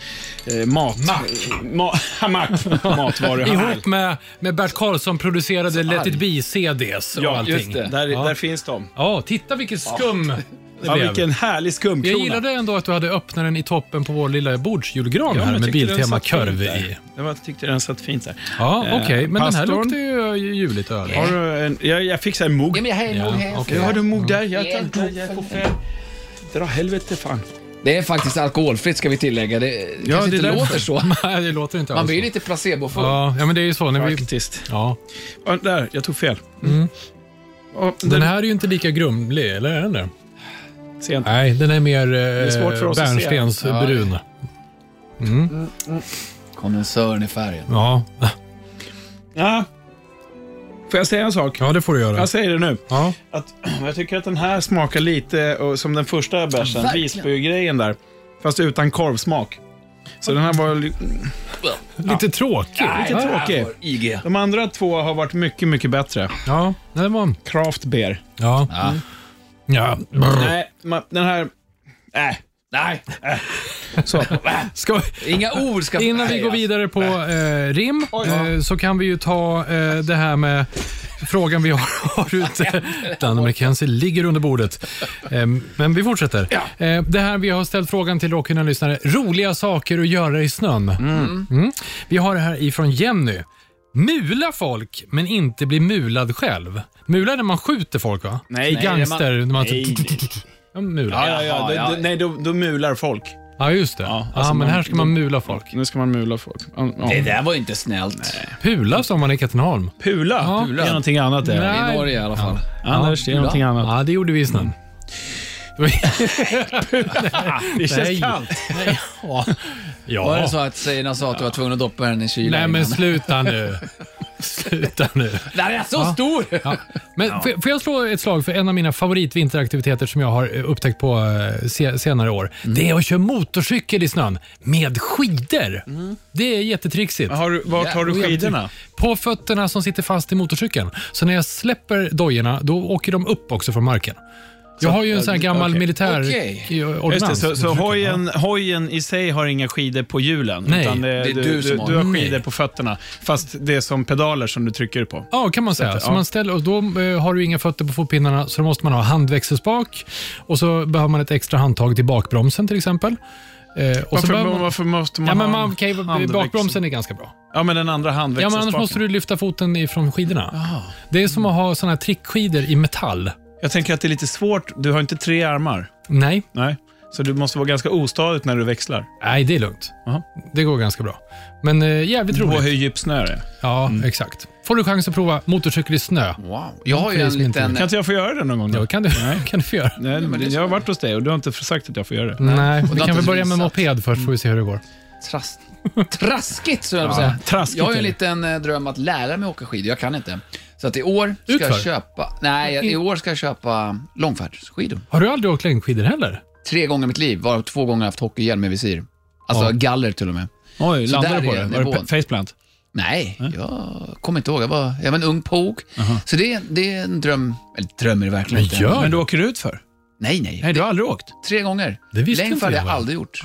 C: eh, mat... Mack. Ma- mack. Matvaruhandel.
B: Ihop med, med Bert Karlsson producerade Let it
D: arg.
B: be-CDs och
C: Ja,
B: allting.
D: just det.
C: Där,
B: Ja.
C: där finns de.
B: Ja, titta vilken skum det
C: Ja,
B: blev.
C: vilken härlig
B: Jag
C: skumkrona.
B: gillade ändå att du hade öppnaren i toppen på vår lilla bordsjulgran
C: Ja, men
B: här
C: jag
B: med
C: tyckte den
B: Biltema
C: satt fint
B: Körve
C: där.
B: i.
C: Jag var- tyckte den satt fint där.
B: Ja,
C: Eh,
B: okej. Men den här
C: pastorn.
B: luktar ju juligt öl.
C: Har du en, jag, jag fixar en mugg.
D: Ja, men jag häller nog här.
B: okej.
C: Jag har du en mugg där?
D: Det är en
C: Jag tar jag får fel. Dra helvete fan.
D: Det är faktiskt alkoholfritt ska vi tillägga. Det
C: det är
D: kanske inte
C: därför.
D: låter så.
B: Nej, det låter inte
D: Man
B: alls
D: blir ju
B: så.
D: lite placebofull.
B: Ja, ja, men det är ju så. När vi...
C: Faktiskt.
B: Ja.
C: Ja, där, jag tog fel. Ja, den,
B: Den här är ju inte lika grumlig, eller är den det?
C: sent.
B: Nej, den är mer
C: är svårt för
B: eh,
C: oss att se.
B: bärnstensbrun.
D: Kondensören i färgen.
B: Ja.
C: Ja. Får jag säga en sak?
B: ja, det får du göra.
C: Jag säger det nu.
B: Ja.
C: Att, jag tycker att den här smakar lite och, som den första bärsen,
D: Verkligen.
C: Visbygrejen där. Fast utan korvsmak. Så den här var li-
B: Lite tråkig.
C: lite tråkig.
D: IG.
C: De andra två har varit mycket, mycket bättre.
B: Ja, nej, det var...
C: Craft beer.
B: Ja.
D: Ja.
B: ja. Brr.
C: Nej, ma- den här... Äh.
D: Nej,
C: Så.
B: Ska vi...
D: inga ord ska...
B: Innan vi
D: Nej,
B: går vidare på eh, rim eh, så kan vi ju ta eh, det här med frågan vi har, har ute. Danne McKenzie ligger under bordet. Eh, men vi fortsätter. Eh, det här vi har ställt frågan till rockhyllan lyssnare. Roliga saker att göra i snön. Mm. Vi har det här ifrån Jenny. Mula folk, men inte bli mulad själv. Mula är när man skjuter folk, va?
C: Nej,
B: I gangster. När man,
C: nej,
B: Ja, mula.
C: Ja,
B: Ja,
C: ja, ja.
D: Jaha,
C: Då-
D: ja.
C: då- Nej, då, då mular folk.
B: just det. Ja,
C: Ja, alltså
B: men
C: man-
B: här ska man mula folk.
C: Nu ska man mula folk. Ja, ja.
D: Det där var ju inte snällt.
B: Pula, sa man i Katrineholm.
C: Pula, det är någonting annat det.
B: Nej.
D: I Norge i alla fall.
C: Anders, det är någonting annat.
B: Ja, det gjorde vi i
C: Mm.
B: snön.
C: Det
B: Nej.
C: känns kallt.
B: Ja.
D: Var det så att tjejerna sa att du var tvungen att doppa den i kylen
B: Nej, men
D: innan?
B: sluta nu. Sluta nu.
D: Den är så stor!
B: Ja. Men Får, får jag slå ett slag för en av mina favoritvinteraktiviteter som jag har eh, upptäckt på eh, se, senare år?
C: Mm.
B: Det är att köra motorcykel i snön med skidor. Det är jättetrixigt.
C: Mm. Har du, vart har du
D: Jävlar.
C: skidorna?
B: På fötterna som sitter fast i motorcykeln. Så när jag släpper dojorna, då åker de upp också från marken. Jag har ju en sån här gammal
C: okej.
B: militär
D: Okej.
B: i-
C: Just det,
B: ordonnans.
C: så, så
B: Motorcykel,
C: hojen, hojen i sig har inga skidor på hjulen.
B: Nej.
C: utan
D: Det är
C: du,
D: du
C: du,
D: som
C: du,
D: har.
C: har
B: Nej.
C: skidor på fötterna. Fast det är som pedaler som du trycker på.
B: Ja, kan man säga. Så
C: ja.
B: man ställer, och då eh, har du inga fötter på fotpinnarna, så då måste man ha handväxelspak och så behöver man ett extra handtag till bakbromsen till exempel. Eh, och så
C: Varför,
B: behöver man,
C: varför måste man
B: ja, men
C: ha en
B: man kan ju,
C: handväxel?
B: bakbromsen är ganska bra.
C: Ja, men den andra
B: Ja, men
C: handväxelspaken.
B: annars måste du lyfta foten ifrån skidorna. Det är som att ha såna här trickskidor i metall.
C: Jag tänker att det är lite svårt. Du har inte tre armar.
B: Nej,
C: Nej. Så du måste vara ganska ostadigt när du växlar.
B: nej det är lugnt.
C: Aha.
B: Det går ganska bra. Men eh, jävligt
C: På
B: roligt.
C: hur djup snö det är.
B: Ja, exakt. Får du chans att prova motorcykel i snö?
D: Wow. Jag har ju
B: Det är
D: en
B: som inte
D: liten...
C: Kan inte jag få göra det någon gång? Då?
B: Ja, kan du, kan du få göra.
C: Nej,
D: men det är
C: jag har varit hos dig och du har inte sagt att jag får göra det.
B: Nej, vi
D: har
B: kan
D: inte
B: väl börja med
D: visat.
B: moped först, får vi se hur det går.
D: Tras traskigt, så jag ja, säga.
C: traskigt
D: jag har ju en
C: är det.
D: liten eh, dröm att lära mig åka skidor. Jag kan inte. Så att i år ska
B: Utför?
D: jag köpa... Nej, i år ska jag köpa långfärdsskidor.
B: Har du aldrig åkt längdskidor heller?
D: Tre gånger i mitt liv, varav två gånger haft hockeyhjälm med visir. Alltså galler till och med.
C: Oj,
D: Så
C: landade
D: där
C: du på
D: är
C: det? Var det
D: nivån.
C: pe- faceplant?
D: Nej, jag kommer inte ihåg. Jag var, jag var en ung påg. Så det, är- det är en dröm. Eller dröm är det verkligen inte.
B: gör
C: Men du åker ut för?
D: Nej, nej.
C: Nej, du har aldrig åkt?
D: Tre gånger.
B: Det visste
D: Längdfärd
B: inte
D: har
B: jag,
D: jag
B: va?
D: aldrig gjort.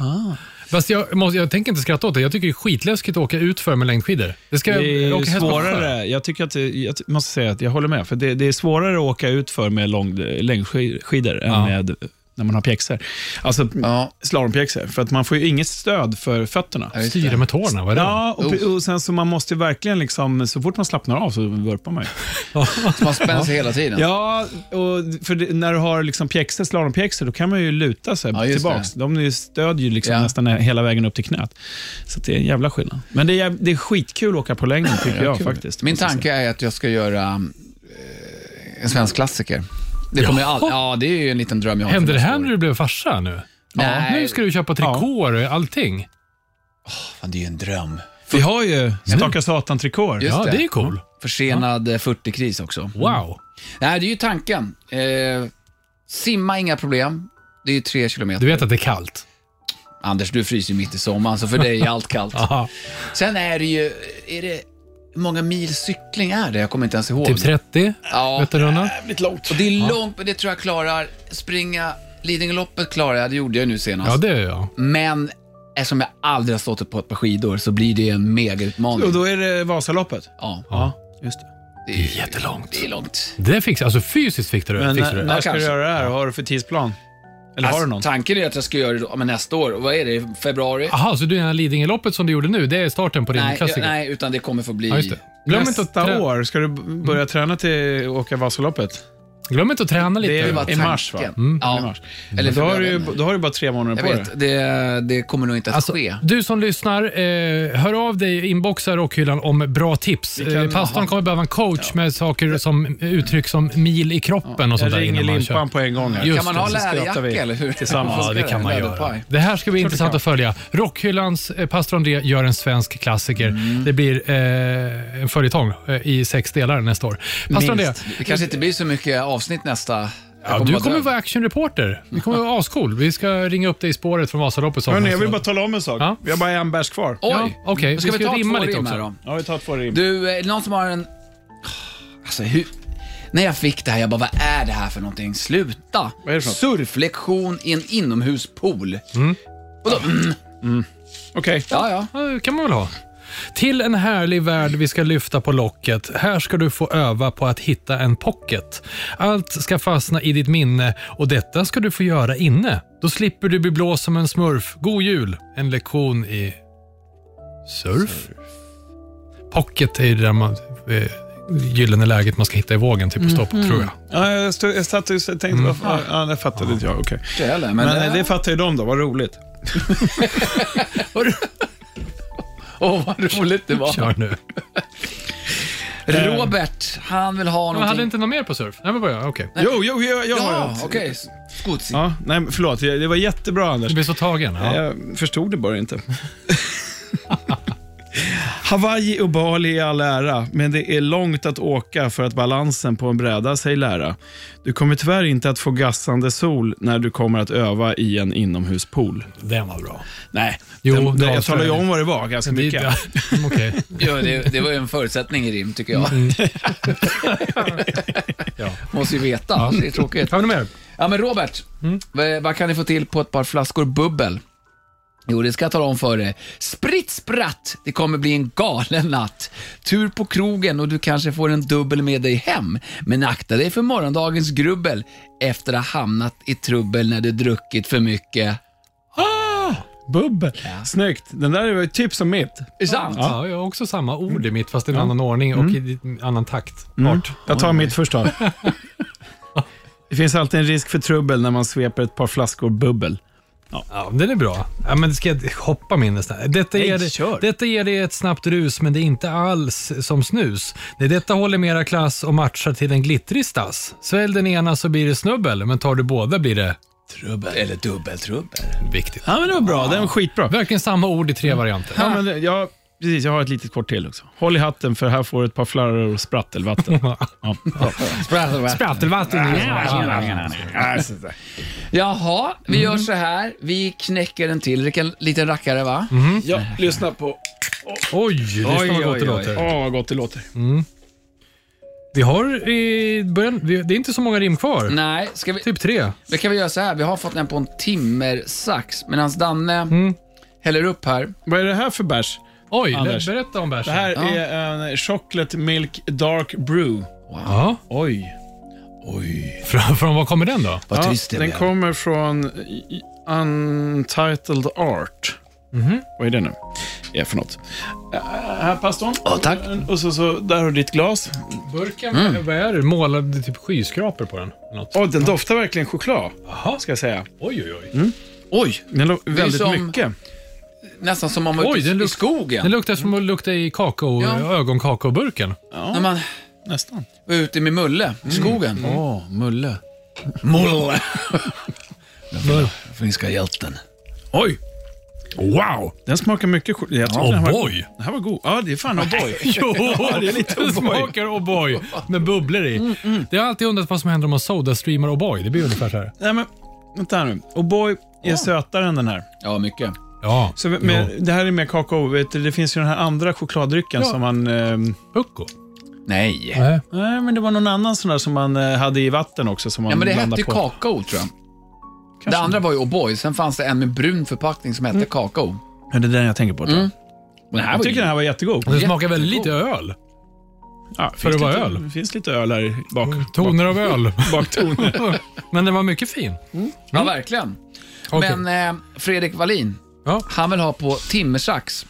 B: Fast jag, måste, jag tänker inte skratta åt det. Jag tycker det är skitläskigt att åka ut för med längdskidor. Det ska
C: Det
B: jag
C: är
B: åka häst på sjö.
C: svårare. Jag tycker att det, jag ty- måste säga att jag håller med. För det, det är svårare att åka ut för med lång, längdskidor än med när man har pjäxor. Alltså
D: Ja.
C: slalompjäxor. För att man får ju inget stöd för fötterna.
D: just det.
B: Styra med tårna, vad är det?
C: Ja, och, pre- och sen så man måste ju verkligen liksom, så fort man slappnar av så vurpar man ju.
D: Man spänns hela tiden.
C: Ja, och för det, när du har liksom pjäxor, slalompjäxor, då kan man ju luta sig
D: Ja, just
C: tillbaks.
D: det.
C: De är ju- stödjer ju liksom
D: Ja.
C: nästan hela vägen upp till knät. Så att det är en jävla skillnad. Men det är, jäv- det är skitkul att åka på längden tycker jag faktiskt.
D: Min
C: måste jag
D: tanke är att jag ska göra eh, en svensk klassiker. Det kommer jag aldrig... Ja, det är ju en liten dröm jag har. för
B: Hände det
D: nästa
B: här
D: år.
B: när du blev farsa nu?
D: Nej.
B: Nu ska du köpa trikåer och allting.
D: Fan, det är ju en dröm.
C: Vi har ju Staka Satan-trikåer.
D: Just
B: Ja,
D: det.
B: det är cool.
D: Försenad eh, 40-kris också.
B: Wow.
D: Nej, det är ju tanken. Eh, simma, inga problem. Det är ju tre kilometer.
B: Du vet att det är kallt?
D: Anders, du fryser ju mitt i sommaren, så för dig är allt kallt.
B: Aha.
D: Sen är det ju... Är det, hur många mil cykling är det? Jag kommer inte ens ihåg.
B: Typ 30
D: Ja,
B: meterrunda.
D: och det är långt, men det tror jag klarar. Springa Lidingöloppet klarar jag, det gjorde jag nu senast.
B: Ja, det är jag.
D: Men eftersom jag aldrig har stått på ett par skidor så blir det en megautmaning.
C: Och då är det Vasaloppet.
D: Ja,
C: Ja, just det.
D: det är, ju-
B: Jättelångt.
D: det är långt.
B: Det fixar Alltså fysiskt fixar du,
C: Men eh,
B: fixar
C: när,
B: du
C: när
B: det.
C: ska du
D: kanske.
C: göra det här? Har du för tidsplan? Eller har du någon?
D: Alltså, tanken är att jag ska göra det då, men nästa år. Vad är det? Februari?
B: Jaha, så du menar Lidingöloppet som du gjorde nu, Ah, det är starten på din
D: nej, jag,
B: klassiker?
D: nej, utan det kommer få bli...
B: Ja, just det. Glöm inte, att
C: Nästa
B: trä-
C: år, ska du b- börja
D: Mm.
C: träna till att åka Vasaloppet?
B: glöm inte att träna lite.
C: Det är-
D: var
C: i mars, va?
D: tanken.
C: Mm.
D: Ja.
C: I mars.
D: Eller
C: Då har, du,
D: februari,
C: ju-
D: men-
C: då har du bara tre månader
D: Jag
C: på dig.
D: vet, det, det kommer nog inte att
B: Alltså,
D: ske.
B: du som lyssnar, eh, hör av dig i inboxar och hyllan om bra tips. eh, pastorn kommer behöva en coach med saker som uttryck som mil i kroppen och sånt där
C: Jag ringer
B: innan man
C: limpan
B: kör.
C: på en gång. här.
B: Just
D: Kan man ha
C: det, så skrattar
D: läderjacka
C: vi
D: eller hur?
C: tillsammans.
D: Vad
B: Ja,
D: ska
B: det
D: jag
B: kan man
D: göra?
B: göra.
D: Läderpaj.
B: Det här ska bli intressant att följa. Rockhyllans eh, pastor André gör en svensk klassiker.
C: Mm.
B: Det blir eh, en följetong eh, i sex delar nästa år. Pastor André,
D: Det kanske inte blir så mycket avsnitt nästa. Jag
B: ja, du kommer
D: dö.
B: vara actionreporter. Du kommer vara ascool. Vi ska ringa upp dig i spåret från Vasaloppet. som-
C: Hörni, jag vill bara tala om en sak.
B: Ja.
C: Vi har bara en bärs kvar.
D: Oj!
B: Ja, okej.
D: Då
B: Vi ska
D: ta två
B: rimma lite
D: rim
B: också.
D: här då.
C: Ja, vi tar två rim.
D: Du, eh, är det någon som har en... Alltså, hur... När jag fick det här, jag bara, vad är det här för någonting? Sluta!
C: Vad är det för något?
D: Surflektion i en inomhuspool. Vadå? Mm.
C: Okej.
D: Ja, ja.
B: Ja, det kan man väl ha. Till en härlig värld vi ska lyfta på locket. Här ska du få öva på att hitta en pocket. Allt ska fastna i ditt minne och detta ska du få göra inne. Då slipper du bli blå som en smurf. God jul! En lektion i surf? Pocket är ju det där man, eh, gyllene läget man ska hitta i vågen, typ och
C: Mm.
B: stå på, tror jag.
C: Ja, jag, stod, jag satt och tänkte, vad fan- ja, det fattade inte jag. Okej.
D: Inte jag heller, men...
C: Men eh, det fattar ju de då, vad roligt.
D: Åh, vad roligt det var.
B: Kör nu.
D: Robert, han vill ha
B: Men hade
D: någonting.
B: inte någon mer på surf? Nej, men bara, okej.
C: Jo, jo, jo, jag har
D: Ja,
C: ett.
D: okej. Skotsig.
C: Ja, nej, men förlåt. Det det var jättebra, Anders.
B: Du blir så tagen. Ja.
C: Jag förstod det bara inte. Hawaii och Bali i all ära, men det är långt att åka för att balansen på en bräda sig lära. Du kommer tyvärr inte att få gassande sol när du kommer att öva i en inomhuspool.
B: Den var bra.
C: Nej,
B: Jo,
C: den,
B: det
C: den, jag
B: avslöjar
C: talade ju
B: det.
C: om vad det var ganska
B: Det-
C: mycket.
B: ja, Mm, Okej.
D: Jo, det, det var ju en förutsättning i rim, tycker jag.
C: Mm.
B: Ja.
D: Måste ju veta, det är tråkigt.
B: Har vi något mer?
D: Ja, men Robert, vad, vad kan ni få till på ett par flaskor bubbel? Jo, det ska jag tala om för dig. Spritt spratt, det kommer bli en galen natt. Tur på krogen och du kanske får en dubbel med dig hem. Men akta dig för morgondagens grubbel efter att ha hamnat i trubbel när du druckit för mycket.
B: Ah!
C: Bubbel. Snyggt. Den där var ju typ som mitt.
D: Är det sant?
B: Ja, jag har också samma ord i mitt, fast i en annan ordning och i en annan takt. Art.
C: Jag tar mitt först då. Det finns alltid en risk för trubbel när man sveper ett par flaskor bubbel.
B: Ja, den är bra. Ja, men ska jag hoppa min nästan? Detta, ger,
C: Nej, kör.
B: detta ger dig ett snabbt rus, men det är inte alls som snus. Det detta håller mera klass och matchar till en glittrig stass. Svälj den ena så blir det snubbel, men tar du båda blir det
D: Trubbel. Eller dubbeltrubbel.
B: viktigt.
C: Ja, men det var bra. Den var skitbra.
B: Verkligen samma ord i tre varianter.
C: Ja, men det- jag, precis, jag har ett litet kort till också. Håll i hatten för här får du ett par flarror och sprattelvatten. Ja.
B: Sprattelvatten.
D: Jaha, vi gör så här. Vi knäcker en till Vilken liten rackare, va?
C: ja, lyssna på...
B: Oj, lyssna
D: Oj,
B: vad gott
D: oj,
B: det
C: Åh,
D: oj.
B: låter.
C: vad gott det låter.
B: Vi har i början, vi, det är inte så många rim kvar.
D: Nej, ska vi,
B: Typ tre.
D: då kan vi göra så här. Vi har fått den på en timmersax, medan Danne
C: Mm.
D: häller upp här.
C: Vad är det här för bärs?
B: Oj,
C: Anders.
B: berätta om
C: Det
B: bärsen.
C: här är en chocolate milk dark brew.
B: Ja,
C: Oj.
B: från, från vad kommer den då?
D: Vad
C: Ja,
D: trist det
C: den
D: blev.
C: kommer från i- Untitled Art. Vad är det nu? Är för något? Äh, här, pastorn.
D: Ja, tack.
C: Och så, så där har du ditt glas.
B: Burken, vad är det? Målade typ skyskrapor på den? Något.
C: Åh, den doftar verkligen choklad,
B: Jaha.
C: ska jag säga.
B: Oj, oj, oj.
D: Oj,
C: Den luktar
D: är
C: väldigt
D: som-
C: mycket.
D: nästan som om man var
B: Oj,
D: ute
B: den luk-
D: i
B: Den
D: skogen.
B: luktar som att lukta i kakao,
D: Ja.
B: ögonkakaoburken.
D: När man
C: Nästan.
D: var ute med Mulle i skogen. Åh, Mulle. Mulle. Den finska hjälten.
C: Oj!
B: Wow!
C: Den smakar mycket choklad. Jag tror den var...
B: O'boy!
C: Den här var god. Ja, det är fan O'boy.
B: Jo,
C: det är lite
B: den
C: O'boy.
B: smakar O'boy med bubblor i.
D: Mm,
B: Det har alltid undrat vad som händer om man sodastreamar O'boy. Det blir ungefär så här.
C: Nej, men vänta här nu. O'boy är sötare än den här.
D: Ja, mycket.
B: Ja,
C: Så med, det här är mer kakao. Vet du, det finns ju den här andra chokladdrycken som man... ehm,
B: pucko.
D: Nej.
B: Nej.
C: Nej, men det var någon annan sån där som man eh, hade i vatten också. Som man
D: Ja, men det hette
C: blandade
D: ju
C: på.
D: kakao, tror jag. Det andra var ju O'boy, sen fanns det en med brun förpackning som hette kakao.
C: Ja, det är den jag tänker på. tror jag.
D: Mm. Men det här
C: Jag
D: var
C: tycker
D: ju...
C: den här var jättegod.
B: Det smakar väldigt lite
D: Jättegod.
B: öl.
C: Ja,
B: För
C: finns
B: att vara
C: lite-
B: öl.
C: Det finns lite öl här i bak.
B: Toner av öl.
C: Baktoner.
B: Men den var mycket fin.
D: Ja, verkligen.
B: Okej.
D: Men eh, Fredrik Wallin,
B: Ja.
D: han vill ha på timmersax.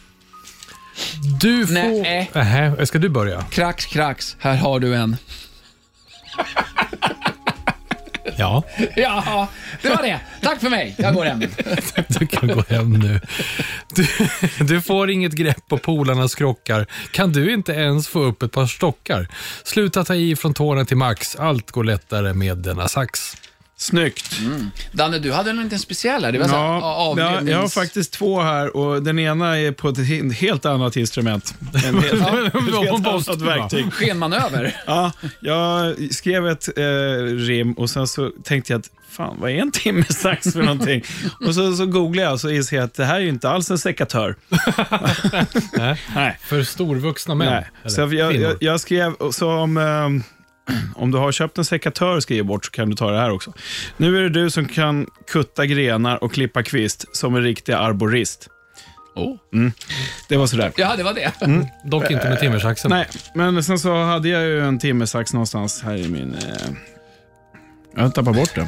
B: Du får...
D: Nej.
B: Nähä, ska du börja?
D: Krax, krax, här har du en.
B: Ja.
D: Ja, det var det. Tack för mig. Jag går hem.
B: Du kan gå hem nu. Du, du får inget grepp på polarnas krockar. Kan du inte ens få upp ett par stockar? Sluta ta i från tårna till max. Allt går lättare med denna sax.
C: Snyggt.
D: Danne, du hade en liten speciell här. Det var så här,
C: Ja,
D: a-
C: jag, jag har
D: avlednings-
C: faktiskt två här och den ena är på ett he- helt annat instrument. En helt,
B: var på
C: ett helt
B: Boston,
C: annat
B: va?
C: verktyg.
D: Skenmanöver.
C: Ja, jag skrev ett eh, rim och sen så tänkte jag att fan, vad är en timmersax för någonting? och så, så googlade jag och så inser jag att det här är ju inte alls en sekatör. Nej.
B: För storvuxna män.
C: Nej.
B: Eller
C: Så jag,
B: kvinnor.
C: jag, jag skrev, och så om, ehm, om du har köpt en sekatör och skriver bort så kan du ta det här också. Nu är det du som kan kutta grenar och klippa kvist som en riktig arborist. Mm.
D: Oh.
C: Det var sådär.
D: Ja, det var det.
C: Mm.
B: Dock inte med timmersaxen.
C: Nej, men sen så hade jag ju en timmersax någonstans här i min... Eh... Jag tappar bort den.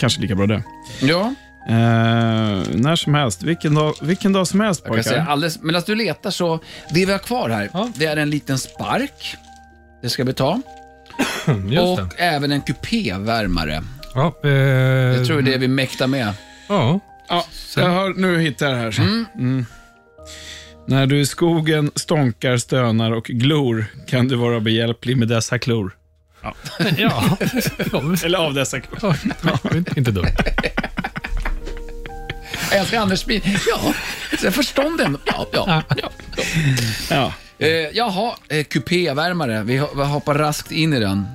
C: Kanske lika bra det.
D: Ja,
C: Eh, när som helst. Vilken dag, vilken dag som helst
D: jag kan säga
C: pojkar.
D: alldeles. Medan du letar så, det vi har kvar här, det är en liten spark. Det ska vi ta.
B: Just
D: och
B: det.
D: även en kupévärmare.
B: Ja, eh,
C: Mm.
D: Jag tror det är vi mäktar med.
B: ja.
C: Ja, jag har, nu hittar jag det här. Mm. När du i skogen stånkar, stönar och glor kan du vara behjälplig med dessa klor.
B: ja.
C: Eller av dessa klor.
B: Ja, Inte dumt.
D: Jag älskar Anders Bin. Ja, Så förstånden, ja, ja, ja. ja.
C: Ja.
D: Eh, jaha, eh, kupévärmare. Vi ho- vi hoppar raskt in i den.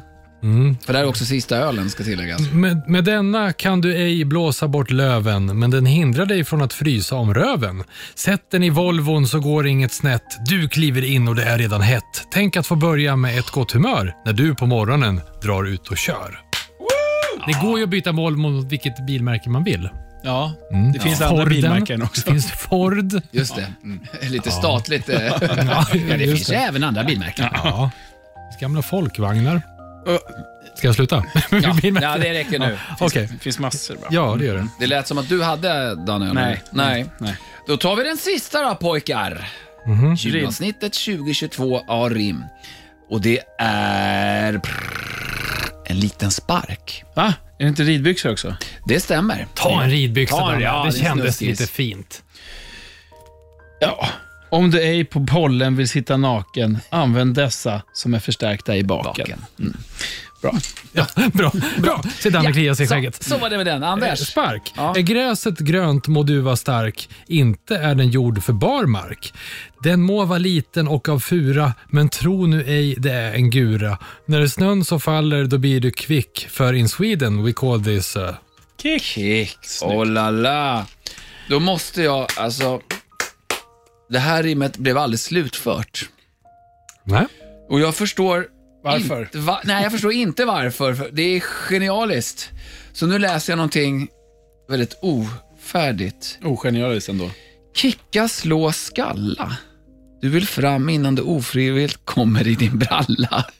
C: Mm.
D: För det här är också sista ölen, ska tilläggas.
B: Med, med denna kan du ej blåsa bort löven, men den hindrar dig från att frysa om röven. Sätt den i Volvon så går inget snett. Du kliver in och det är redan hett. Tänk att få börja med ett gott humör när du på morgonen drar ut och kör. Det går ju att byta mål mot vilket bilmärke man vill.
C: Ja, det finns andra
B: Forden,
C: bilmärken också.
B: Det finns Ford.
D: Just det. Mm. Lite statligt. eh. ja, det
B: just
D: finns ju även andra bilmärken.
B: Ja. Gamla folkvagnar. Ska jag sluta?
D: Ja,
B: Bilmärken.
D: ja, det räcker nu.
B: Okej.
C: Det finns massor. Va?
B: Ja, det gör det.
D: Det lät som att du hade Danne. eller?
C: Nej.
D: Nej.
C: Nej.
D: Då tar vi den sista då pojkar. Gymnasnittet 2022 av rim. Och det är en liten spark.
C: Va? Är det inte ridbyxor också?
D: Det stämmer.
B: Ta en ridbyxa,
D: Ta en-
B: Danne.
D: ja,
B: det
D: det är
B: kändes
D: snuskis.
B: lite fint.
C: Ja. Om du ej på pollen vill sitta naken, använd dessa som är förstärkta i baken.
D: Baken.
B: Ja, bra. bra. Se Danne klia sig i
D: Så,
B: skägget. Eh,
D: så var det med den. Anders.
B: Spark.
D: Ja.
B: Är gräset grönt må du vara stark, inte är den jord för bar mark. Den må vara liten och av fura, men tro nu ej det är en gura. När snön så faller då blir du kvick, för in Sweden we call this... Uh,
D: Kicks. Oh la la. Då måste jag, alltså. Det här rimmet blev aldrig slutfört.
B: nej?
D: Och jag förstår...
C: Varför?
D: Inte, va, nej, jag förstår inte varför. För det är genialiskt. Så nu läser jag någonting väldigt ofärdigt.
C: Ogenialiskt ändå.
D: Kicka, slå, skalla. Du vill fram innan det ofrivilligt kommer i din bralla.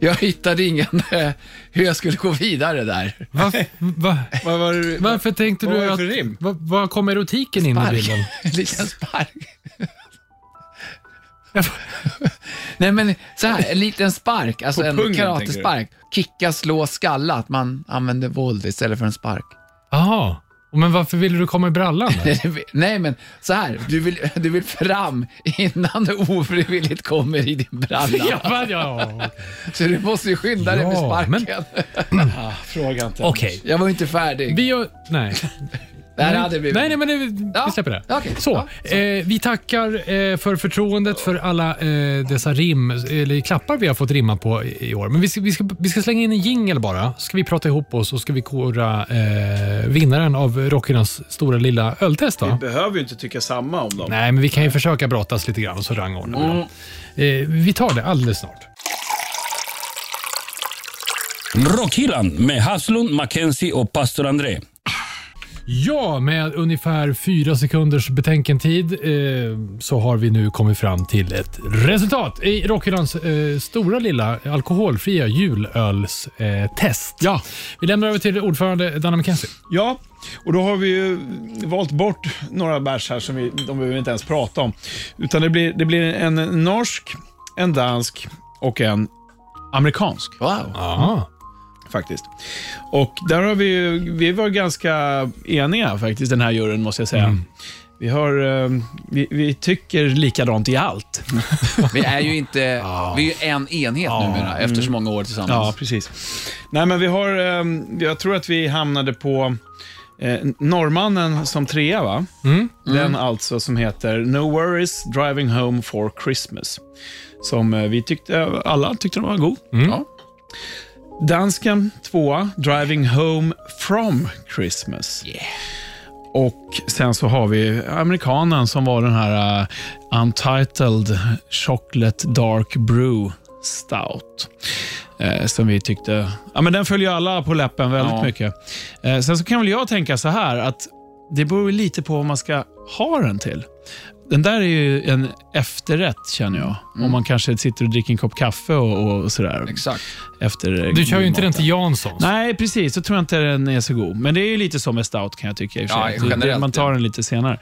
D: Jag hittade ingen eh, hur jag skulle gå vidare där.
B: Va, va,
C: Vad var det?
B: varför tänkte
C: Vad var
B: du
C: det
B: att...
C: för rim?
B: Vad var kom erotiken in i bilden?
D: En liten spark. Nej men så här, en liten spark, alltså
C: På
D: en
C: pungen,
D: karatespark. Kicka, slå, skalla, att man använder våld istället för en spark.
B: Jaha. Men varför ville du komma i brallan? då?
D: Nej men så här, du vill, du vill fram innan det ofrivilligt kommer i din bralla.
B: Ja, ja, okej.
D: Så du måste ju skynda dig med
B: Ja,
D: sparken.
C: Fråga inte.
B: Okej.
D: Jag var inte färdig.
B: Vi gör... Nej.
D: det här hade blivit...
B: Nej, nej, men det,
D: Ja,
B: vi släpper det.
D: okej.
B: Så,
D: Ja,
B: Eh, vi tackar eh, för förtroendet för alla eh, dessa rim, eller klappar vi har fått rimma på i i år. Men vi ska, vi ska, vi ska slänga in en jingle bara, ska vi prata ihop oss och ska vi kora eh, vinnaren av Rockynas stora lilla öltest. Va?
F: Behöver ju inte tycka samma om dem.
B: Nej, men vi kan ju försöka brottas lite grann och så rangordnar vi dem. eh, Vi tar det alldeles snart.
A: Rockhyllan med Haslund, Mackenzie och pastor André.
B: Ja, med ungefär fyra sekunders betänketid eh, så har vi nu kommit fram till ett resultat i Rockhyllans eh, stora lilla alkoholfria julölstest. Eh, test.
C: Ja.
B: Vi lämnar över till ordförande Danna McKenzie.
C: Ja, och då har vi ju valt bort några bärs här som vi, de behöver vi inte ens prata om. Utan det blir, det blir en norsk, en dansk och en amerikansk
D: Wow.
B: Ja.
C: faktiskt. Och där har vi ju- vi var ganska eniga faktiskt, den här juryn måste jag säga. Vi, har, eh, vi, vi tycker likadant i allt.
D: Vi är ju inte... Vi är ju en enhet numera efter
B: Mm.
D: så många år tillsammans.
C: Ja, precis. Nej, men vi har, eh, jag tror att vi hamnade på eh, norrmannen som trea, va? Den alltså som heter No Worries Driving Home for Christmas. Som eh, vi tyckte, alla tyckte den var god.
D: Ja.
C: Dansken tvåa, Driving Home from Christmas. Och sen så har vi amerikanen som var den här eh, Untitled Chocolate Dark Brew Stout. Eh, som vi tyckte... Ja, men den följer alla på läppen väldigt
D: Ja.
C: mycket. Eh, sen så kan väl jag tänka så här att det beror ju lite på vad man ska ha den till. Den där är ju en efterrätt känner jag.
B: Mm.
C: Om man kanske sitter och dricker en kopp kaffe och, och sådär.
D: Exakt.
C: Efter eh,
B: Du kör ju inte den
C: maten.
B: till Janssons.
C: Nej, precis. Då tror jag inte den är så god. Men det är ju lite som med stout kan jag tycka. I och för
D: Ja,
C: sig.
D: generellt,
C: Det- Man tar den lite senare.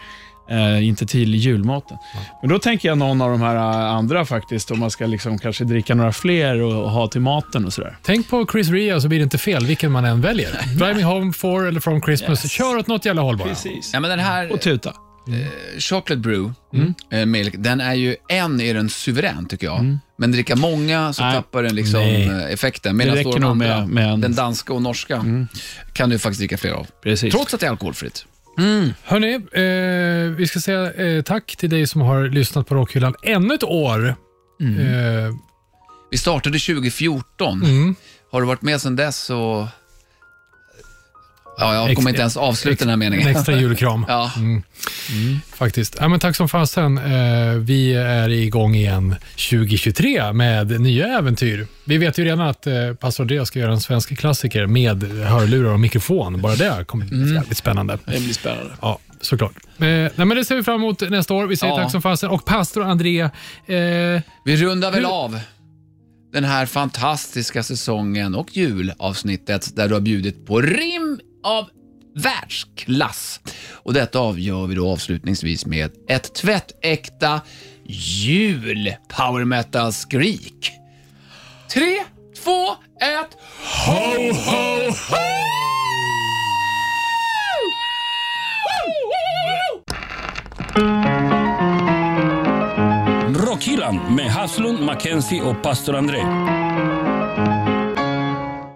C: Eh, inte till julmaten. Men då tänker jag någon av de här eh, andra faktiskt, om man ska liksom kanske dricka några fler och, och ha till maten och sådär.
B: Tänk på Chris Rea så blir det inte fel vilken man än väljer. Driving home for eller from Christmas. Kör åt något jävla håll bara.
D: Ja, men den här
C: Och tuta.
D: eh, chocolate brew,
C: Mm.
D: eh, milk, den är ju... En är den suverän, tycker jag. Men dricka många så
C: Mm. Nej.
D: tappar den liksom
B: Nej.
D: eh, effekten. Medan
C: Det räcker
D: då de
C: nog med-
D: andra,
C: med en- Mm.
D: den danska och norska, kan du faktiskt dricka fler av.
C: Precis.
D: Trots att det är alkoholfritt.
B: Hörni, eh, vi ska säga eh, tack till dig som har lyssnat på Rockhyllan ännu ett år.
D: Mm.
B: Eh, mm.
D: Vi startade 2014.
C: Mm.
D: Har du varit med sedan dess så... Ja, jag
B: Ex-
D: kommer inte ens avsluta den här meningen.
B: en extra julkram. Mm.
D: Ja. Mm.
B: Faktiskt. Ja, men tack som fasen. Eh, vi är igång igen 2023 med nya äventyr. Vi vet ju redan att eh, pastor Andreas ska göra en svensk klassiker med hörlurar och mikrofon. Bara det kommer
D: Mm.
B: bli jävligt spännande.
F: Det blir spännande.
B: Ja, såklart. Eh, nej, men det ser vi fram emot nästa år. Vi säger
D: Ja.
B: tack som fasen. Och pastor André, eh,
D: Vi rundar väl
B: Hur-
D: av den här fantastiska säsongen och julavsnittet där du har bjudit på rim av världsklass. Och detta avgör vi då avslutningsvis med ett tvättäkta jul-power metal-skrik. Tre, två, ett. Ho, ho, ho!
A: Rockhyllan med Haslund, Mackenzie och pastor André.